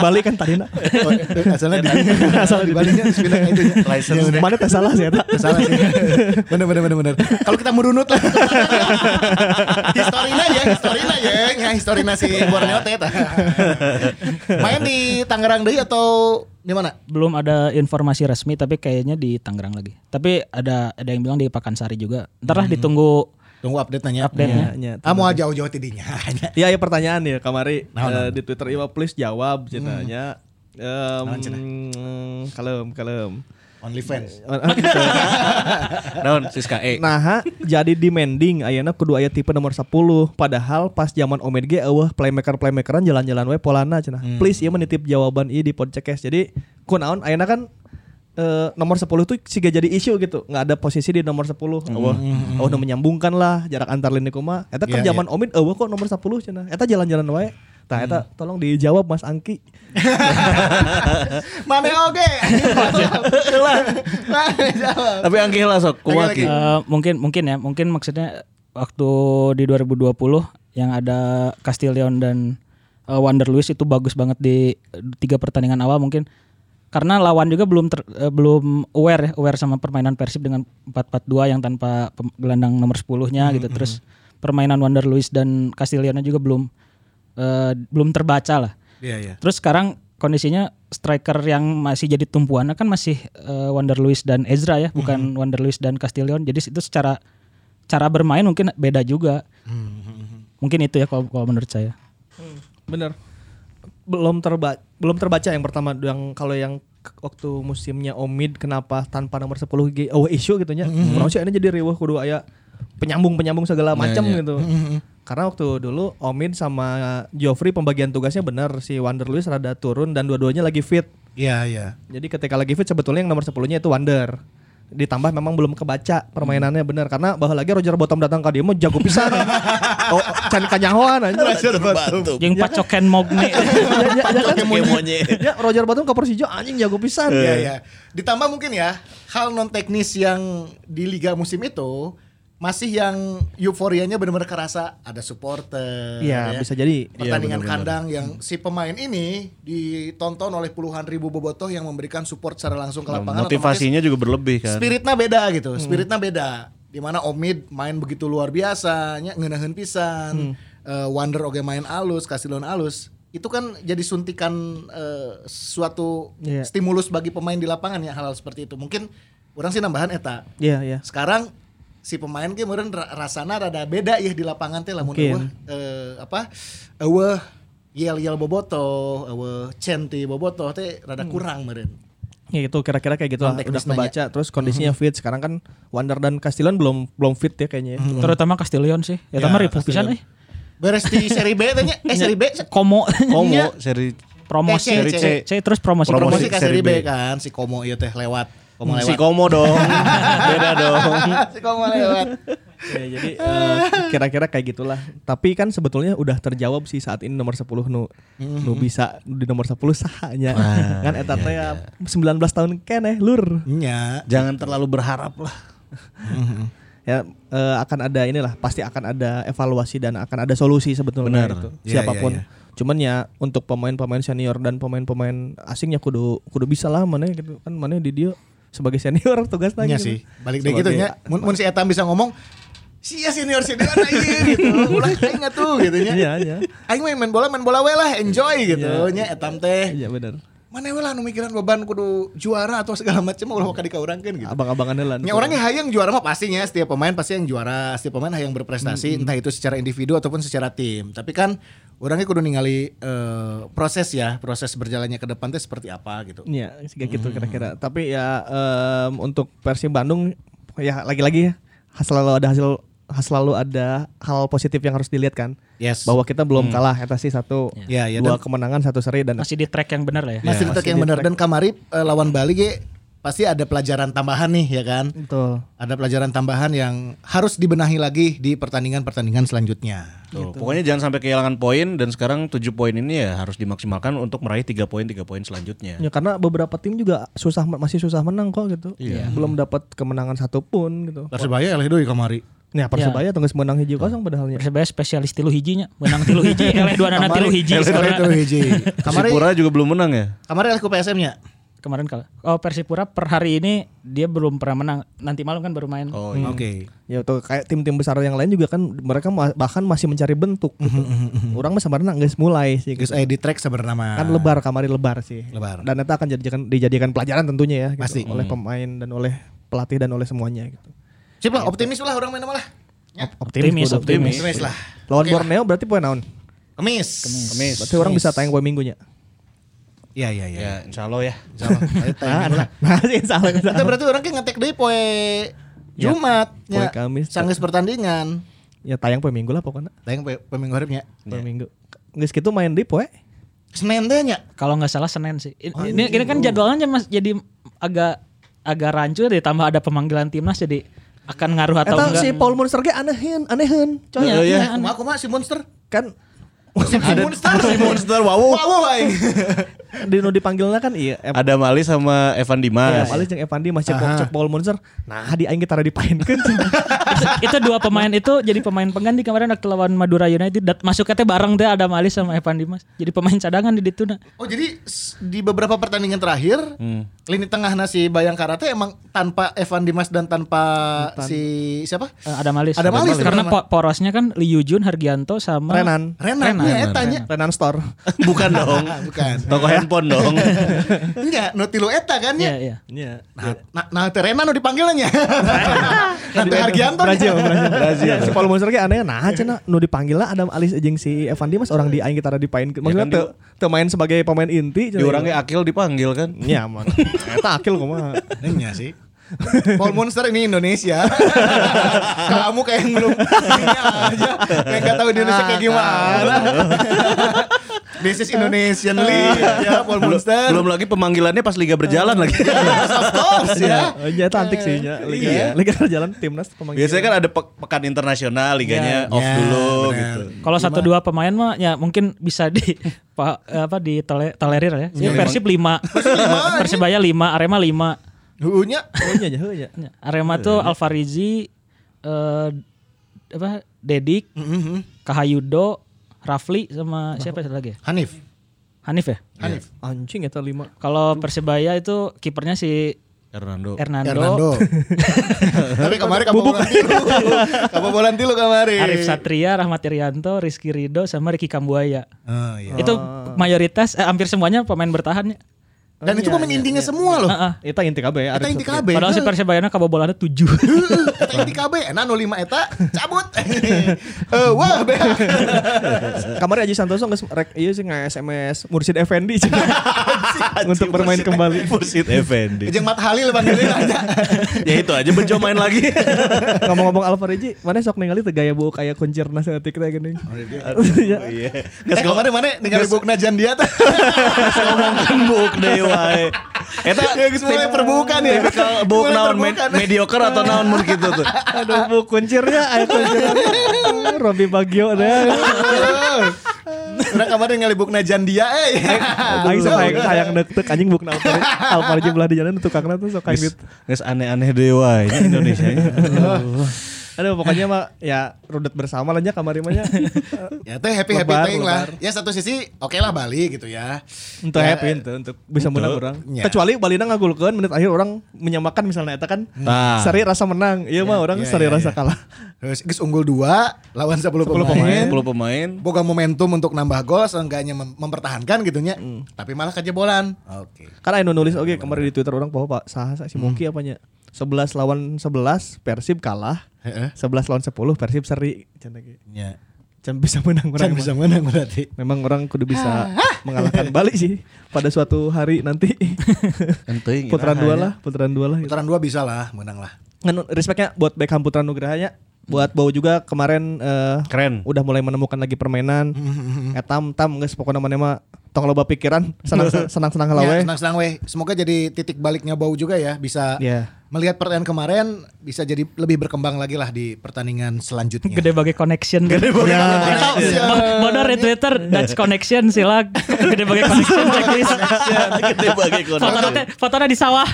Balikan tadi nak. Oh, eh, asalnya di asalnya di Bali nya sepindah itu ya. nya. License. Mana teh salah sih eta. Salah sih. Bener bener bener bener. Kalau kita merunut lah. historina ya, historina ya, ya historina si Borneo teh tah. Main di Tangerang deui atau di mana? belum ada informasi resmi tapi kayaknya di Tangerang lagi tapi ada ada yang bilang di Pakansari juga ntar lah Hmm. ditunggu Tunggu update nanya. update-nya Iya, Ya, Ah mau jauh-jauh tidinya. Iya, ya pertanyaan ya kamari Nah, Eh, di Twitter Iwa please jawab ceritanya. Hmm. Nah, Em, kalem, kalem. Only fans. Naon Siska E. Nah, ha, eh. jadi demanding ayeuna kudu aya tipe nomor 10 padahal pas zaman Omed ge eueuh playmaker-playmakeran jalan-jalan we polana cenah. Hmm. Please ieu menitip jawaban ieu di podcast. Jadi kunaon ayeuna kan eh, nomor 10 tuh siga jadi isu gitu. nggak ada posisi di nomor 10. Hmm. Eueuh. Eueuh nu menyambungkan lah jarak antar lini kumaha. Eta kan Iya, zaman Omid eueuh kok nomor 10 cenah. Eta jalan-jalan wae. Tah eta Hmm. tolong dijawab Mas Angki. Mane oge. Iya, Lah. Mane jawab. Tapi angkih lah sok kuat Lagi-lagi. Ki. Eh, mungkin mungkin ya mungkin maksudnya waktu di 2020 yang ada Castillion dan eh, Wander Luis itu bagus banget di eh, tiga pertandingan awal mungkin karena lawan juga belum ter- eh, belum aware ya, aware sama permainan Persib dengan 4-4-2 yang tanpa pem- gelandang nomor 10-nya gitu terus permainan Wander Luis dan Castilionnya juga belum eh, belum terbaca lah. Iya iya. Terus sekarang kondisinya striker yang masih jadi tumpuan kan masih eh, Wander Luis dan Ezra ya, Mm-hmm. bukan Wander Luis dan Castillion. Jadi itu secara cara bermain mungkin beda juga. Mm-hmm. Mungkin itu ya kalau kalau menurut saya. Bener. Belum terba belum terbaca yang pertama yang kalau yang k- waktu musimnya Omid kenapa tanpa nomor 10 ge oh isu gitu nya. Kurang sih ini jadi riweuh kudu aya penyambung-penyambung segala macam gitu. Karena waktu dulu Omid sama Joffrey pembagian tugasnya benar si Wander Luis rada turun dan dua-duanya lagi fit. Iya iya. Jadi ketika lagi fit sebetulnya yang nomor 10-nya itu Wander. ditambah memang belum kebaca permainannya bener karena bahwa lagi Roger Bottom datang ke dia mau jago pisan oh can kanyahoan Iya, anjir Jeung kan? pacoken mogne. ya, ya, kan? Kemonya. ya Roger Bottom ke Persija anjing jago pisan Iya ya. Ditambah mungkin ya hal non teknis yang di liga musim itu masih yang euforianya benar-benar kerasa ada supporter. ya. Iya, bisa jadi. Pertandingan Iya, benar-benar. kandang yang si pemain ini ditonton oleh puluhan ribu bobotoh yang memberikan support secara langsung ke lapangan. Motivasinya juga berlebih otomatis kan. Spiritnya beda gitu, Hmm. spiritnya beda. Dimana Omid main begitu luar biasa, nya ngeunaheun Hmm. pisan. Eh, Wander oge main alus, Casilon alus. Itu kan jadi suntikan eh, suatu Iya. stimulus bagi pemain di lapangan ya hal-hal seperti itu. Mungkin orang sih nambahan eta. Iya, iya. Sekarang si pemain ge meureun ra- rasana rada beda ya di lapangan teh lamun Mungkin. eueuh eh, apa eueuh yel-yel bobotoh, eueuh centi bobotoh teh Hmm. rada kurang meureun. Ya itu kira-kira kayak gitu lah, Kontek udah bisnanya. kebaca terus kondisinya fit sekarang kan Wander dan Castillan belum belum fit ya kayaknya ya. Terutama Castillion sih. Ya tamah ripuh pisan euy. Beres di seri B tanya, eh seri B Komo Komo seri promosi Eh, C, C, C, terus promosi promosi Promosi ke ke seri seri B B. Hmm, kan si Komo iya teh lewat. Komo si lewat. Komo dong. Beda dong. si Komo lewat. Ya, jadi eh, kira-kira kayak gitulah. Tapi kan sebetulnya udah terjawab sih saat ini nomor 10 nu nu bisa di nomor 10 sahanya. kan eta teh 19 tahun keneh lur. Nya. Jangan terlalu berharap lah. Ya eh, akan ada inilah pasti akan ada evaluasi dan akan ada solusi sebetulnya Benar. itu. Iya, Siapapun. iya, Cuman ya untuk pemain-pemain senior dan pemain-pemain asingnya kudu kudu bisa lah mana gitu kan mana di dia sebagai senior tugas lagi. Nya Iya sih. Balik deh gitu nya. Mun, mun si Etam bisa ngomong ya, Sia senior senior na ieu gitu. Ulah aing tuh gitu nya. Iya, iya. Aing mah main bola main bola we lah Iya, enjoy gitu nya Etam teh. Iya benar. Mana we lah nu mikiran beban kudu juara atau segala macam ulah ka dikaurangkeun gitu. Abang-abangan lah. Ya orang yang hayang juara mah pastinya setiap pemain pasti yang juara, setiap pemain hayang berprestasi entah itu secara individu ataupun secara tim. Tapi kan orangnya kudu ningali eh, proses ya, proses berjalannya ke depan teh seperti apa gitu. Iya, kayak gitu kira-kira. Tapi ya em, untuk Persib Bandung ya lagi-lagi ya has- selalu ada hasil has- selalu ada hal positif yang harus dilihat kan. Yes. Hmm. Bahwa kita belum kalah eta sih satu Ya, ya, dua dan- kemenangan satu seri dan Masih di track yang benar lah ya. Masih tetap yang benar dan kamari eh, lawan Bali ge pasti ada pelajaran tambahan nih ya kan. betul. Ada pelajaran tambahan yang harus dibenahi lagi di pertandingan-pertandingan selanjutnya. Tuh, Pokoknya jangan sampai kehilangan poin dan sekarang 7 poin ini ya harus dimaksimalkan untuk meraih 3 poin 3 poin selanjutnya. Ya karena beberapa tim juga susah men- masih susah menang kok gitu. Iya. Belum dapat kemenangan satu pun gitu. Persebaya lah doi kamari. Iya. Nah, Persebaya tunggu menang hiji kosong padahalnya. Persebaya spesialis tilu hijinya, menang tilu hiji, eleh dua nana tilu hiji. Kamari tilu hiji. Kamari Persipura juga belum menang ya? kamari lah ku PSM-nya. Kemarin kalah. Oh Persipura per hari ini dia belum pernah menang. Nanti malam kan baru main. Oh Oke. Ya iya. tuh kayak tim-tim besar yang lain juga kan mereka ma- bahkan masih mencari bentuk gitu. Mhm, Orang mah sebenarnya nggak mulai sih. gitu. Geus aya eh, di track sebenarnya mah. kan lebar kamari lebar sih Nah. Lebar. dan itu akan dijadikan dijadikan pelajaran tentunya ya gitu, Pasti. Hmm. oleh pemain dan oleh pelatih dan oleh semuanya gitu Ya. Sip lah, optimis lah orang main malah. Op- optimis Optimis, kudu optimis. Optimis lah. lawan Borneo berarti poin naon Kemis. Kamis. berarti orang bisa tayang poin minggunya Iya iya iya. Ya insya Allah ya. Insyaallah. Ayo tayang dulu lah. nah insya Allah insya Itu Allah. berarti orang kayak ngetek deui poe Ya, Jumat poe nya. Kamis. Sanggeus pertandingan. ya tayang poin minggu lah pokoknya Tayang poe poe minggu hareup nya. poin minggu nggak segitu main di poe Senin ya. teh nya. Kalau nggak salah Senin sih. Ini, ini, ini kan jadwalnya mas jadi agak agak rancu ditambah ada pemanggilan timnas jadi akan ngaruh atau Eta enggak? si Paul Monster ge anehin anehin coy ya, Iya, iya. Kumaha kumaha si monster? kan Si si monster. Si monster wow. Wow aing. di nu dipanggilnya kan iya em- Ada Mali sama Evan Ya, Dimas. Malis jeung Evan Dimas cek cek Paul Monster. Nah, di aing tara dipaenkeun. itu, itu dua pemain itu jadi pemain pengganti kemarin waktu lawan Madura United dat masuk teh bareng teh ada Malis sama Evan Dimas. Jadi pemain cadangan di Dituna. Oh jadi s- di beberapa pertandingan terakhir Hmm. lini tengah nasi Bayangkara teh emang tanpa Evan Dimas dan tanpa si siapa? Eh, ada Malis. Ada Malis, Karena terutama. po- porosnya kan Liu Jun, Hargianto sama Renan. Renan, Renan, ya, tanya. Renan Store. Bukan dong. Bukan. Toko handphone dong. iya. Enggak, nu tilu eta kan ya. Iya, iya. Iya. Nah, nah, nah teh Renan nu dipanggilnya. nah, Iya, teh Hargianto. Brazil, Brazil, Brazil. si Paul Monster ge aneh nah cenah nu dipanggil lah Adam Alis jeung si Evan Dimas orang di aing kita dipain maksudnya kan, teu teu main sebagai pemain inti iya. Di orangnya Akil dipanggil kan. nya mah eta akil kumaha Iya sih. Paul Monster ini Indonesia. Kamu kayak yang belum ini aja, kayak gak tahu Indonesia kayak gimana. This is Indonesian League ya Iya, Paul Monster. Belum lagi pemanggilannya pas liga berjalan lagi. Of course ya. Oh, iya, itu antik sih ya. Liga, Iya. Liga Jalan Timnas pemanggilan. Biasanya kan ada pe- pekan internasional liganya off Ya, dulu benar. gitu. Kalau satu dua pemain mah ya mungkin bisa di pa- apa di tole- tolerir ya. Ya, Persib 5. Persibaya 5, Arema 5. Huunya Heunya aja, heunya. Arema tuh Alfarizi eh apa Dedik, Kahayudo, Rafli sama siapa satu lagi ya? Hanif. Hanif ya? Hanif. Anjing eta lima. Kalau Persebaya itu kipernya si Hernando. Hernando, Hernando. Tapi kemarin kamu bolan tilu. Kamu bolan tilu kemarin. Arif Satria, Rahmat Irianto, Rizky Rido sama Ricky Kambuaya. Oh, iya. Itu mayoritas eh, hampir semuanya pemain bertahan ya. Dan itu pemain intinya iya, semua loh. Heeh. Eta inti kabeh ya. Eta Arif inti Satria. KB. Padahal si Persebaya kabobolannya 7. Eta inti KB. Nah 05 Eta cabut. Eh, Wah bea. Kamari Aji Santoso nggak rek iya sih nggak SMS Mursid Effendi cik. untuk bermain kembali. Mursid Effendi. Jeung Mat Halil panggilin aja. ya itu aja bejo main lagi. Ngomong-ngomong Alvarez, mana sok ningali teu gaya bau kayak konjerna setik teh geuning. Iya. Nges Eh kemarin mana ningali bukna Jandia tuh. ngomongkan buk deh wae. Eta Ya, geus mulai perbukaan ya. Tipikal buk Mulai naon med- perbukaan. mediocre atau naon mun gitu tuh. Aduh bu kuncirnya ayo kuncirnya. Robi Bagio deh. Orang kemarin ningali bukna Jandia eh. Aing sok kayak kayak deg anjing bukna Alvarez. Alvarez belah di jalan tukangna tuh sok kayak Nges- gitu. Nges aneh-aneh deh wae nya Indonesia. Aduh pokoknya mah ya rudet bersama lah nya kamari mah nya. Ya teh happy happy Lebar, ting lah. lebar. Ya satu sisi oke lah Bali gitu ya. Untuk Ya, happy untuk untuk bisa menang orang. Ya. Kecuali Balina ngagulkeun menit akhir orang menyamakan misalnya eta kan. Nah. Sari rasa menang. Iya mah orang ya, sari ya, rasa ya. kalah. Terus geus unggul dua lawan 10, pemain. 10 pemain. Boga momentum untuk nambah gol seenggaknya mem- mempertahankan gitunya. Tapi malah kejebolan. Hmm. Oke. Karena Eno Kan nulis oke kemarin di Twitter orang bahwa Pak Saha Saha, si Hmm. Monkey apanya 11 lawan 11 Persib kalah. Heeh. 11 lawan 10 Persib seri. Can lagi. Ya. Can bisa menang orang. Can emang. bisa Ah, menang berarti. Memang orang kudu bisa mengalahkan Bali sih pada suatu hari nanti. Enteng. putaran dua ya? lah, putaran dua lah. Gitu. Putaran dua bisa lah, menang lah. Ngan- Respectnya buat Beckham Putra Nugrahanya, buat Bau juga kemarin eh, Keren. udah mulai menemukan lagi permainan. Hmm, Etam tam guys pokoknya mana mah tong loba pikiran senang senang senang Ya, lawe. senang-senang weh. Semoga jadi titik baliknya bau juga ya. Bisa Iya. melihat pertandingan kemarin bisa jadi lebih berkembang lagi lah di pertandingan selanjutnya. Gede bagi connection. Ya. Gede bagi connection. Bodor di Twitter Dutch connection sila. Gede bagi connection checklist. Gede bagi Fotonya konon. teh- fotonya di sawah.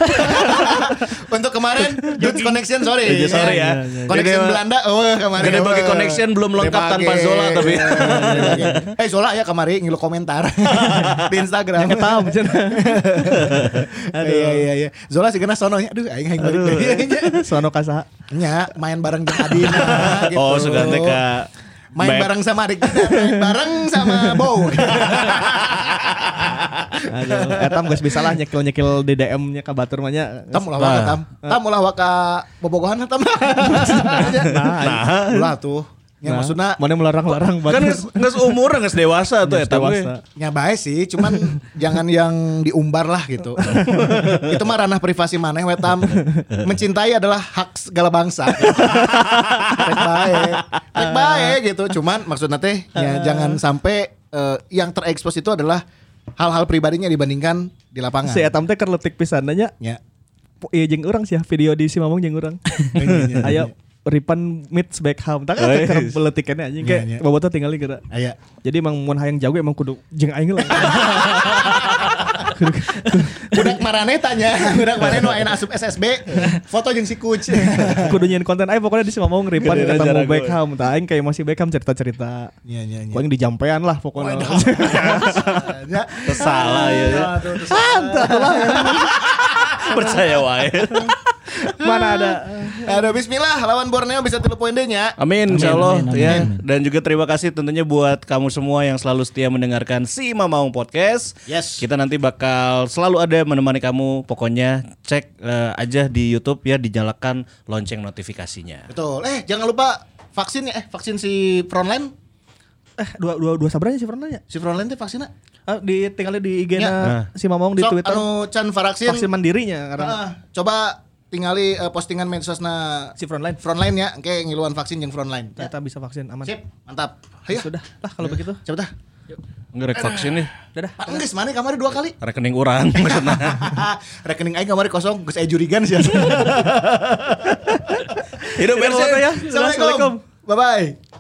Untuk kemarin Dude Connection sorry. Iya, sorry ya. Connection Gede- Belanda oh kemarin. Gede bagi oh. connection belum Gede lengkap bagi. tanpa Zola tapi. Iya, gede bagi. Eh Zola ya kemarin ngilu komentar di Instagram. Etam can. Aduh. Iya iya iya. Zola sih kena sono nya. Aduh aing aing balik deui. Sono kasaha. Nya main bareng jeung Adina gitu. Oh, sugan teh ka Main Back. bareng sama adik kita, main bareng sama Bow. Aduh, etam Eh, guys bisa lah nyekil-nyekil di DM-nya ka batur mah nya. Tam ulah waka tam. Nah. Tam ulah waka bobogohan tam. Nah, ulah tuh. Ya Nah, maksudna mana melarang-larang batur. Kan nges, nges umur nges dewasa tuh Geus eta we. dewasa. Ya baik sih, cuman jangan yang diumbar lah gitu. itu mah ranah privasi maneh wetam. Mencintai adalah hak segala bangsa. Rek bae. Rek bae gitu. Cuman maksudnya teh Nah. ya jangan sampai eh, yang terekspos itu adalah hal-hal pribadinya dibandingkan di lapangan. Si etam teh keur leutik pisannya Ya. Po- Iya jeung urang sih ya, video di si Mamang jeung urang. Iya, Ayo Ripan meets Beckham. Tak kan keur beletikannya anjing kayak Iya, iya. bobotoh tinggal geura. Aya. Jadi emang mun hayang jago emang kudu jeung aing lah. Budak marane tanya, budak marane nu aya asup SSB, foto jeung si Kuc. kudu nyiin konten aing pokoknya di si Mamang Ripan Gedean ketemu jarak gue. Beckham. Tah aing kayak masih Beckham cerita-cerita. Iya, iya, iya. Paling di jampean lah pokoknya. Waduh. Ya. Salah iya, ya. ya. Aduh, tuh salah. Percaya wae. Mana ada Aduh bismillah lawan Borneo bisa tilu poin deh nya. Amin insyaallah amin, amin, ya. Dan juga terima kasih tentunya buat kamu semua yang selalu setia mendengarkan si Mamaung Podcast. Yes. Kita nanti bakal selalu ada menemani kamu. Pokoknya cek eh, aja di YouTube ya dinyalakan lonceng notifikasinya. Betul. Eh jangan lupa vaksin ya eh vaksin si Frontline. eh dua dua dua sabranya sih pernah ya? Nah. Si Frontline teh vaksinnya. Ah, di tinggalnya di IG Ya. na si Mamang di Sok, Twitter. anu can vaksin. Vaksin mandirinya karena Ah, coba tinggali eh, postingan medsosna si frontline Frontline ya, engke Iya, ngiluan vaksin jeung Frontline. Ya. ternyata bisa vaksin aman. Sip, mantap. Ayo. Sudah lah kalau begitu. Coba tah. Ngerek vaksin nih. Dadah. Pak Engges mana kamari dua kali? Rekening orang maksudnya. Rekening aing kamari kosong, geus aya jurigan sia. Hidup Hidup Ersen. Ersen. Ya, Assalamualaikum. Bye bye.